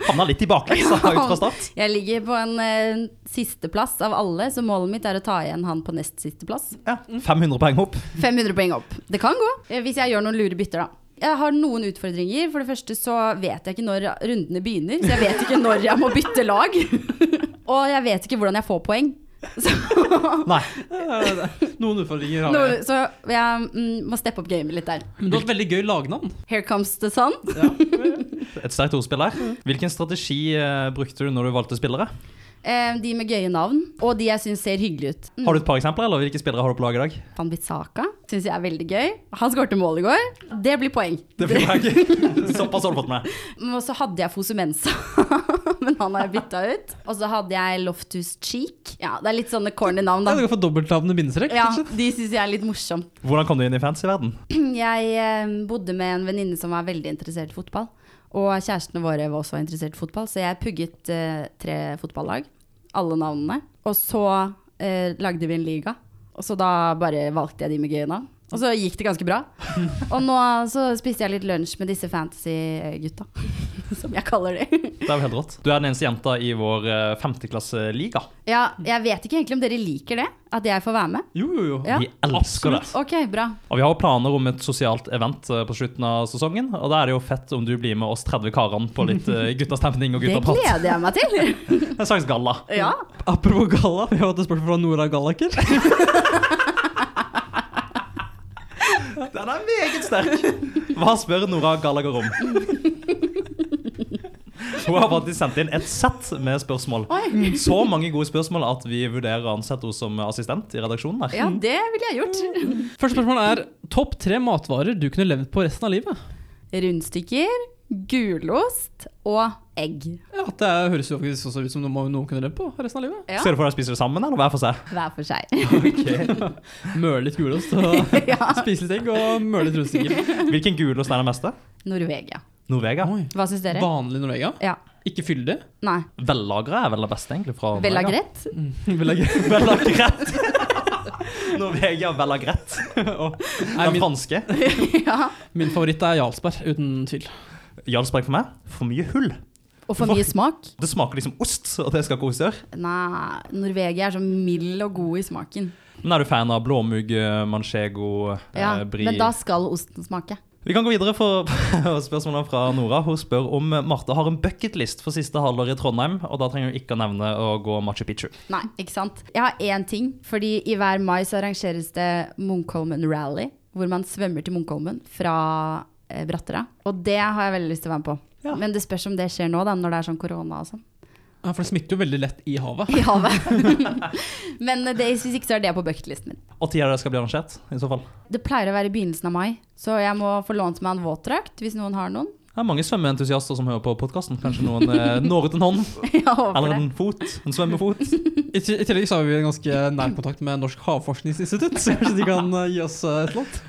[SPEAKER 1] Havna litt i
[SPEAKER 3] <laughs>
[SPEAKER 1] bakleksa ut fra start.
[SPEAKER 3] jeg ligger på en eh, sisteplass av alle, så målet mitt er å ta igjen han på nest sisteplass.
[SPEAKER 1] Ja, 500 poeng opp.
[SPEAKER 3] 500 poeng opp. Det kan gå, eh, hvis jeg gjør noen lure bytter, da. Jeg har noen utfordringer. For det første så vet jeg ikke når rundene begynner. Så jeg vet ikke når jeg må bytte <laughs> lag. Og jeg vet ikke hvordan jeg får poeng.
[SPEAKER 1] Nei.
[SPEAKER 2] Noen utfordringer har
[SPEAKER 3] Noe,
[SPEAKER 2] jeg.
[SPEAKER 3] så jeg mm, må steppe opp gamet litt der.
[SPEAKER 2] Men du har et veldig gøy lagnavn.
[SPEAKER 3] Here comes the sun.
[SPEAKER 1] Et sterkt ordspill her.
[SPEAKER 3] Mm.
[SPEAKER 1] Hvilken strategi eh, brukte du når du valgte spillere?
[SPEAKER 3] Eh, de med gøye navn, og de jeg syns ser hyggelige ut. Mm.
[SPEAKER 1] Har du et par eksempler, eller hvilke spillere har du på lag i dag?
[SPEAKER 3] Fanbisaka syns jeg er veldig gøy. Han skårte mål i går. Det blir poeng.
[SPEAKER 1] Det fikk
[SPEAKER 3] <laughs>
[SPEAKER 1] jeg ikke. <laughs> Såpass har du fått med.
[SPEAKER 3] Og så hadde jeg Fosumensa, <laughs> men han har jeg bytta ut. Og så hadde jeg Loftus Cheek. Ja, det er litt sånne corny navn,
[SPEAKER 2] Ja,
[SPEAKER 3] da.
[SPEAKER 2] du kan få dobbeltnavn i bindestrek.
[SPEAKER 3] Ja,
[SPEAKER 2] kanskje?
[SPEAKER 3] de syns jeg er litt morsomt. <clears throat>
[SPEAKER 1] Hvordan kom du inn i fantasy-verden?
[SPEAKER 3] Jeg eh, bodde med en venninne som var veldig interessert i fotball. Og kjærestene våre var også interessert i fotball, så jeg pugget eh, tre fotballag. Alle navnene. Og så eh, lagde vi en liga. Og så da bare valgte jeg de med gøye navn. Og så gikk det ganske bra. Og nå så spiste jeg litt lunsj med disse fantasy-gutta, <laughs> som jeg kaller de.
[SPEAKER 1] Det er jo helt rått. Du er den eneste jenta i vår eh, femteklasseliga.
[SPEAKER 3] Ja, jeg vet ikke egentlig om dere liker det, at jeg får være med.
[SPEAKER 2] Jo, jo, jo.
[SPEAKER 3] Ja.
[SPEAKER 1] Vi elsker det.
[SPEAKER 3] Ok, bra.
[SPEAKER 1] Og vi har jo planer om et sosialt event eh, på slutten av sesongen. Og da er det jo fett om du blir med oss 30 karene på litt
[SPEAKER 3] <laughs>
[SPEAKER 1] eh, guttastemning og
[SPEAKER 3] Det
[SPEAKER 1] guttaprat.
[SPEAKER 3] gleder jeg meg til.
[SPEAKER 1] En slags galla.
[SPEAKER 3] Ja.
[SPEAKER 2] Apropos galla, vi har hatt et spørsmål fra Nora Gallaker.
[SPEAKER 1] Den er meget sterk. Hva spør Nora Gallagher om? Hun har faktisk sendt inn et sett med spørsmål.
[SPEAKER 3] Oi.
[SPEAKER 1] Så mange gode spørsmål at vi vurderer å ansette henne som assistent i redaksjonen. her.
[SPEAKER 3] ja, det ville jeg gjort.
[SPEAKER 2] Første spørsmål er topp tre matvarer du kunne levd på resten av livet.
[SPEAKER 3] rundstykker, gulost og egg.
[SPEAKER 2] Ja, Det er- høres jo faktisk også ut som noe noen kunne levd på resten av <laughs> livet.
[SPEAKER 3] Ja,
[SPEAKER 1] Skal du få deg å spise det sammen, eller hver for seg?
[SPEAKER 3] hver for seg.
[SPEAKER 1] <laughs>
[SPEAKER 2] Møle litt gulost <laughs> og
[SPEAKER 3] ja.
[SPEAKER 2] spise litt egg og møle litt rundstykker.
[SPEAKER 1] Hvilken gulost er den beste?
[SPEAKER 3] <laughs> Norvegia.
[SPEAKER 1] Norvega.
[SPEAKER 2] Oi.
[SPEAKER 3] Hva syns dere?
[SPEAKER 2] Vanlig Norvegia.
[SPEAKER 3] Ja.
[SPEAKER 2] Ikke fyldig.
[SPEAKER 3] Nei.
[SPEAKER 1] Vellagra er vel det beste, egentlig. fra Norvega.
[SPEAKER 3] Bellagrett?
[SPEAKER 2] Mm, Nei,
[SPEAKER 1] Vellagrett. <laughs> Norvegia vellagrett. Og Den
[SPEAKER 2] min,
[SPEAKER 1] franske.
[SPEAKER 3] <laughs> ja.
[SPEAKER 2] min favoritt er Jarlsberg, uten tvil.
[SPEAKER 1] Jarlsberg for meg. For mye hull.
[SPEAKER 3] Og for mye smak?
[SPEAKER 1] Det smaker liksom ost, og det skal ikke ost gjøre.
[SPEAKER 3] Nei, Norvegia er så mild og god i smaken.
[SPEAKER 1] Men er du fan av blåmugg, eh, manchego,
[SPEAKER 3] Ja,
[SPEAKER 1] eh, brie
[SPEAKER 3] men da skal osten smake.
[SPEAKER 1] Vi kan gå videre for <laughs> spørsmålet fra Nora. Hun spør om Marte har en bucketlist for siste halvår i Trondheim. Og da trenger hun ikke å nevne å gå Machu Picchu.
[SPEAKER 3] Nei, ikke sant. Jeg har én ting, fordi i hver mai så arrangeres det Munkholmen Rally, hvor man svømmer til Munkholmen fra eh, Brattera. Og det har jeg veldig lyst til å være med på.
[SPEAKER 1] Ja.
[SPEAKER 3] Men det spørs om det skjer nå, da, når det er sånn korona og sånn.
[SPEAKER 2] Ja, For det smitter jo veldig lett i
[SPEAKER 3] <laughs>
[SPEAKER 2] havet.
[SPEAKER 3] i havet. Men det, hvis ikke så er det på bucketlisten min.
[SPEAKER 1] Og tid er det det skal bli arrangert, i så fall.
[SPEAKER 3] Det pleier å være i begynnelsen av mai, så jeg må få lånt meg en våtdrakt hvis noen har noen.
[SPEAKER 1] Det er mange svømmeentusiaster som hører på podkasten. Kanskje noen eh,
[SPEAKER 3] <laughs>
[SPEAKER 1] når ut en hånd,
[SPEAKER 3] Jeg håper
[SPEAKER 1] eller
[SPEAKER 3] det.
[SPEAKER 1] en fot. En svømmefot.
[SPEAKER 2] I, til- I tillegg så har vi ganske nær kontakt med Norsk havforskningsinstitutt, så kanskje de kan eh, gi oss eh, et eller annet.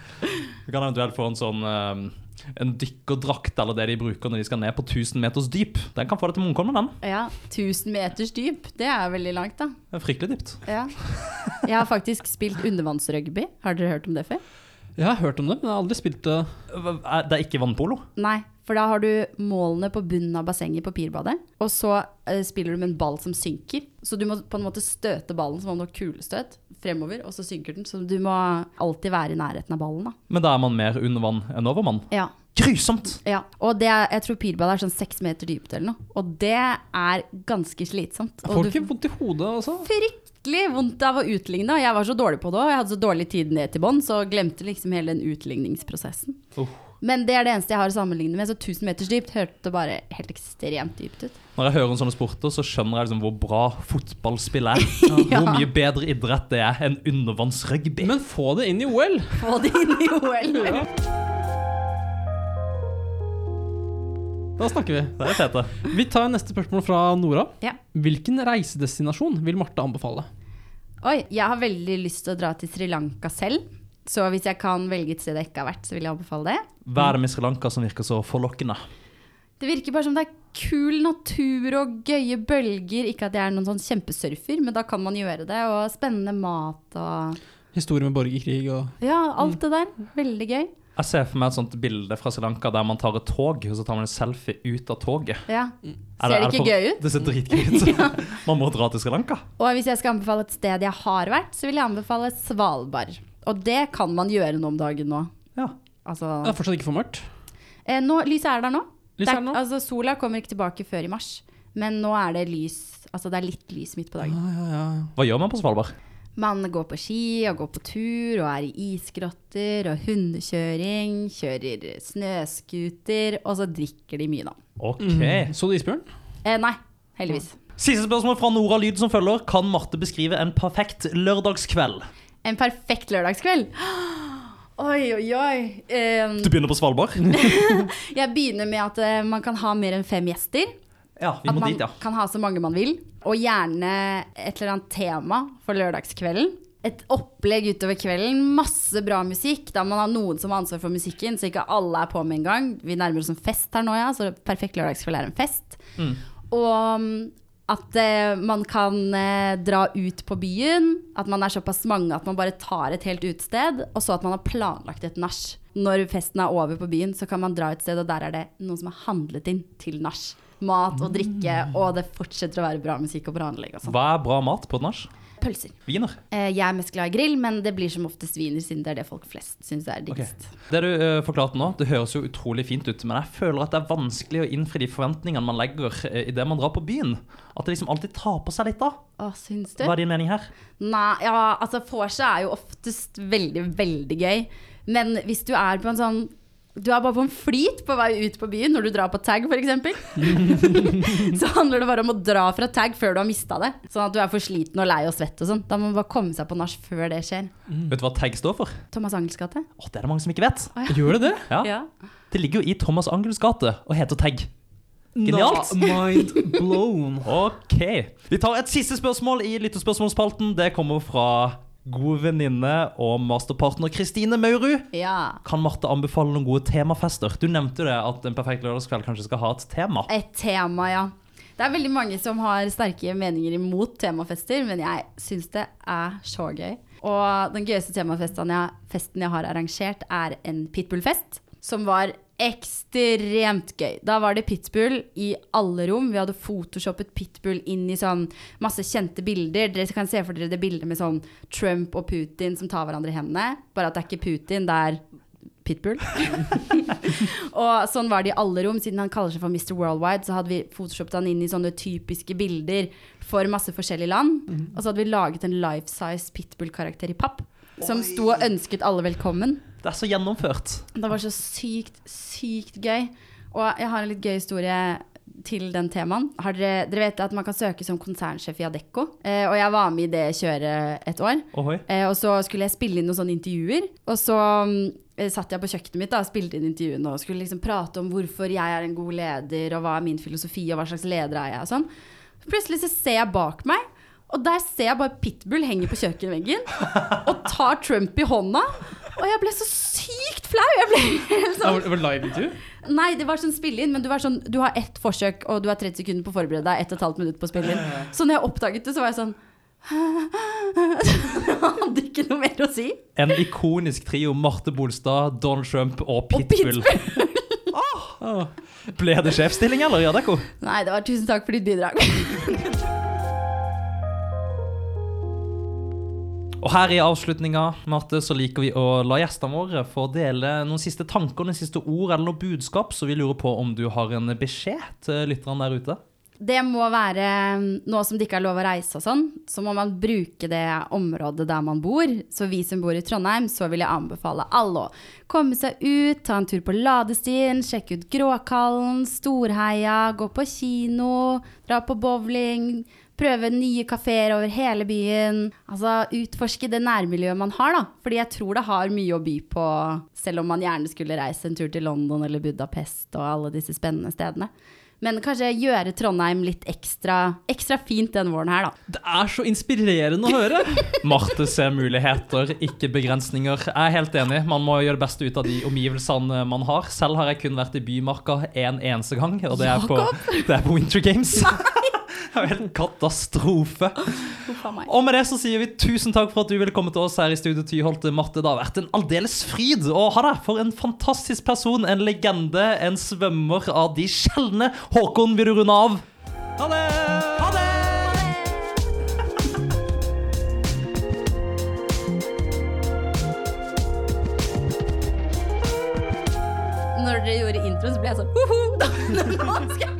[SPEAKER 1] Du kan eventuelt få en sånn eh, en dykkerdrakt eller det de bruker når de skal ned på 1000 meters dyp. Den kan få deg til Munkholmen, den.
[SPEAKER 3] Ja, 1000 meters dyp, det er veldig langt, da.
[SPEAKER 1] Det er Fryktelig dypt.
[SPEAKER 3] Ja. Jeg har faktisk spilt undervannsrugby. Har dere hørt om det før?
[SPEAKER 2] Jeg har hørt om det, men jeg har aldri spilt eh, det.
[SPEAKER 1] Hva- er- Det er ikke vannpolo.
[SPEAKER 3] Nei, for da har du målene på bunnen av bassenget på pirbadet, og så eh, spiller du med en ball som synker. Så du må på en måte støte ballen som om det var kulestøt fremover, og så synker den. Så du må alltid være i nærheten av ballen, da.
[SPEAKER 1] Men da er man mer under vann enn over vann.
[SPEAKER 3] Ja.
[SPEAKER 1] Grusomt!
[SPEAKER 3] Ja, og det er, jeg tror pirbad er sånn seks meter dypt eller noe. Og det er ganske slitsomt. Og
[SPEAKER 2] Får ikke vondt i hodet, altså.
[SPEAKER 3] du får fryktelig vondt av å utligne. og Jeg var så dårlig på det òg. Jeg hadde så dårlig tid ned til bånn, så glemte liksom hele den utligningsprosessen.
[SPEAKER 1] Oh.
[SPEAKER 3] Men det er det eneste jeg har å sammenligne med. Så 1000 meters dypt hørte bare helt ekstremt dypt ut.
[SPEAKER 1] Når jeg hører om sånne sporter, så skjønner jeg liksom hvor bra fotballspill
[SPEAKER 3] <laughs>
[SPEAKER 1] er.
[SPEAKER 3] Ja.
[SPEAKER 1] Hvor mye bedre idrett det er enn undervannsrugby.
[SPEAKER 2] Men få det inn i OL!
[SPEAKER 3] Få <laughs> det inn i OL.
[SPEAKER 2] Da snakker vi.
[SPEAKER 1] Det er fete.
[SPEAKER 2] Vi tar neste spørsmål fra Nora.
[SPEAKER 3] Ja.
[SPEAKER 2] Hvilken reisedestinasjon vil Marte anbefale?
[SPEAKER 3] Oi, jeg har veldig lyst til å dra til Sri Lanka selv. Så hvis jeg kan velge et sted jeg ikke har vært, så vil jeg anbefale det.
[SPEAKER 1] Hva er det med Sri Lanka som virker så forlokkende?
[SPEAKER 3] Det virker bare som det er kul natur og gøye bølger. Ikke at jeg er noen sånn kjempesurfer, men da kan man gjøre det. Og spennende mat og
[SPEAKER 2] Historie med borgerkrig og
[SPEAKER 3] Ja, alt det der. Veldig gøy.
[SPEAKER 1] Jeg ser for meg et sånt bilde fra Sri Lanka der man tar et tog, og så tar man en selfie ut av toget.
[SPEAKER 3] Ja.
[SPEAKER 1] Er
[SPEAKER 3] Ser det
[SPEAKER 1] er
[SPEAKER 3] ikke gøy ut?
[SPEAKER 1] Det ser
[SPEAKER 3] <laughs>
[SPEAKER 1] dritgøy ut. <laughs> Man må dra til Sri Lanka.
[SPEAKER 3] Og hvis jeg skal anbefale et sted jeg har vært, så vil jeg anbefale Svalbard. Og det kan man gjøre nå om dagen nå.
[SPEAKER 1] Ja.
[SPEAKER 3] Altså,
[SPEAKER 2] Det er fortsatt ikke for mørkt.
[SPEAKER 3] eh, nå, lyset er der nå.
[SPEAKER 2] Lyset
[SPEAKER 3] Det
[SPEAKER 2] er der nå.
[SPEAKER 3] Altså, sola kommer ikke tilbake før i mars, men nå er det lys. Altså, det er litt lys midt på dagen.
[SPEAKER 2] Ja, ja, ja.
[SPEAKER 1] Hva gjør man på Svalbard?
[SPEAKER 3] Man går på ski og går på tur og er i isgrotter og hundekjøring, kjører snøskuter, og så drikker de mye, da.
[SPEAKER 1] Ok.
[SPEAKER 2] Mm. Så du isbjørn?
[SPEAKER 3] Eh, nei, heldigvis.
[SPEAKER 1] Siste spørsmål fra Nora Lyd som følger. Kan Marte beskrive en perfekt lørdagskveld?
[SPEAKER 3] En perfekt lørdagskveld. <gasps> Oi, oi, oi. Eh,
[SPEAKER 1] Du begynner på
[SPEAKER 3] <laughs>
[SPEAKER 1] Svalbard?
[SPEAKER 3] jeg begynner med at eh, man kan ha mer enn fem gjester.
[SPEAKER 1] Ja, vi
[SPEAKER 3] At
[SPEAKER 1] må
[SPEAKER 3] man
[SPEAKER 1] dit, ja.
[SPEAKER 3] kan ha så mange man vil. Og gjerne et eller annet tema for lørdagskvelden. Et opplegg utover kvelden. Masse bra musikk. Da man har noen som har ansvar for musikken, så ikke alle er på med en gang. Vi nærmer oss en fest her nå, ja, så perfekt lørdagskveld er en fest.
[SPEAKER 1] Mm.
[SPEAKER 3] Og mm, at eh, man kan eh, dra ut på byen. At man er såpass mange at man bare tar et helt utested. Og så at man har planlagt et nach. Når festen er over på byen, så kan man dra et sted, og der er det noen som har handlet inn til nach. Mat og drikke, og det fortsetter å være bra musikk og bra anlegg og sånn.
[SPEAKER 1] Hva er bra mat på et nach?
[SPEAKER 3] Pølser.
[SPEAKER 1] Wiener.
[SPEAKER 3] Eh, jeg er mest glad i grill, men det blir som oftest wiener, siden det er det folk flest syns er diggest.
[SPEAKER 1] Det du eh, forklarte nå, det høres jo utrolig fint ut, men jeg føler at det er vanskelig å innfri de forventningene man legger eh, i det man drar på byen. At det liksom alltid tar på seg litt, da.
[SPEAKER 3] Å, syns du?
[SPEAKER 1] Hva er din mening her?
[SPEAKER 3] Nei, ja, altså vorset er jo oftest veldig, veldig gøy. Men hvis du er på en sånn Du er bare på en flyt på vei ut på byen når du drar på tag, f.eks. så handler det bare om å dra fra tag før du har mista det. Sånn at du er for sliten og lei og svett og sånn. Da må man bare komme seg på nach før det skjer.
[SPEAKER 1] Vet du hva tag står for?
[SPEAKER 3] Thomas Angels gate?
[SPEAKER 1] Å, det er det mange som ikke vet.
[SPEAKER 2] Gjør det det?
[SPEAKER 1] Ja. Det ligger jo i Thomas Angels gate og heter tag. Genialt!
[SPEAKER 2] Na, mind blown.
[SPEAKER 1] Ok. Vi tar et siste spørsmål i lyttespørsmålspalten. Det kommer fra god venninne og masterpartner Kristine Maurud.
[SPEAKER 3] ja.
[SPEAKER 1] Kan Marte anbefale noen gode temafester? Du nevnte jo det at en perfekt lørdagskveld kanskje skal ha et tema.
[SPEAKER 3] Et tema, ja. Det er veldig mange som har sterke meninger imot temafester, men jeg syns det er så gøy. Og den gøyeste temafesten jeg, festen jeg har arrangert, er en pitbullfest, som var ekstremt gøy. Da var det pitbull i alle rom. Vi hadde photoshoppet pitbull inn i sånn masse kjente bilder. Dere kan se for dere det bildet med sånn Trump og Putin som tar hverandre i hendene. Bare at det er ikke Putin, det er pitbull. Og sånn var det i alle rom. Siden han kaller seg for Mr. Worldwide, så hadde vi photoshoppet han inn i sånne typiske bilder for masse forskjellige land. Og så hadde vi laget en life size pitbull-karakter i papp. Som sto og ønsket alle velkommen.
[SPEAKER 1] Det er så gjennomført.
[SPEAKER 3] Det var så sykt, sykt gøy. Og jeg har en litt gøy historie til den temaen. Har dere, dere vet at man kan søke som konsernsjef i Adecco. Eh, og jeg var med i det kjøret et år.
[SPEAKER 1] Ohoi.
[SPEAKER 3] Eh, og så skulle jeg spille inn noen sånne intervjuer. Og så mm, eh, satt jeg på kjøkkenet mitt da, og spilte inn intervjuene og skulle liksom prate om hvorfor jeg er en god leder, og hva er min filosofi, og hva slags leder er jeg, og sånn. Plutselig så ser jeg bak meg, og der ser jeg bare Pitbull henge på kjøkkenveggen og tar Trump i hånda. Og jeg ble så sykt flau! Jeg ble <laughs> helt
[SPEAKER 2] <laughs> Det
[SPEAKER 3] sånn
[SPEAKER 2] var, det var live intervju?
[SPEAKER 3] Nei, det var sånn spille inn, men du, var sånn, du har ett forsøk, og du har 30 sekunder på å forberede deg, 1 12 minutt på å spille inn. Så når jeg oppdaget det, så var jeg sånn <laughs> Jeg hadde ikke noe mer å si.
[SPEAKER 1] En ikonisk trio Marte Bolstad, Donald Trump og
[SPEAKER 3] Og
[SPEAKER 1] Pitbull. <laughs> Åh. Ble det sjefsstilling, eller? Ja, Dekko?
[SPEAKER 3] <laughs> Nei, det var tusen takk for ditt bidrag.
[SPEAKER 1] Og her i avslutninga, Marte, så liker vi å la gjestene våre få dele noen siste tanker, noen siste ord eller noe budskap, så vi lurer på om du har en beskjed til lytterne der ute.
[SPEAKER 3] Det må være Nå som det ikke er lov å reise og sånn, så må man bruke det området der man bor. Så vi som bor i Trondheim, så vil jeg anbefale alle å komme seg ut, ta en tur på Ladestien, sjekke ut Gråkallen, Storheia, gå på kino, dra på bowling, prøve nye kafeer over hele byen. Altså utforske det nærmiljøet man har, da. Fordi jeg tror det har mye å by på, selv om man gjerne skulle reise en tur til London eller Budapest og alle disse spennende stedene. Men kanskje gjøre Trondheim litt ekstra, ekstra fint den våren her, da.
[SPEAKER 2] Det er så inspirerende å høre!
[SPEAKER 1] <laughs> Marte ser muligheter, ikke begrensninger. Jeg er helt enig. Man må gjøre det beste ut av de omgivelsene man har. Selv har jeg kun vært i Bymarka én en eneste gang, og det er på, det er på Winter Games. <laughs> Det er jo helt katastrofe.
[SPEAKER 3] Huff a meg.
[SPEAKER 1] Og med det så sier vi tusen takk for at du ville komme til oss her i Studio Tyholt. Marte, det har vært en aldeles fryd å ha deg. For en fantastisk person, en legende, en svømmer av de sjeldne. Håkon, vil du runde av? Ha det! Ha det!
[SPEAKER 3] Når dere gjorde introen, så ble jeg sånn ho-ho! da- <laughs> Nå skal jeg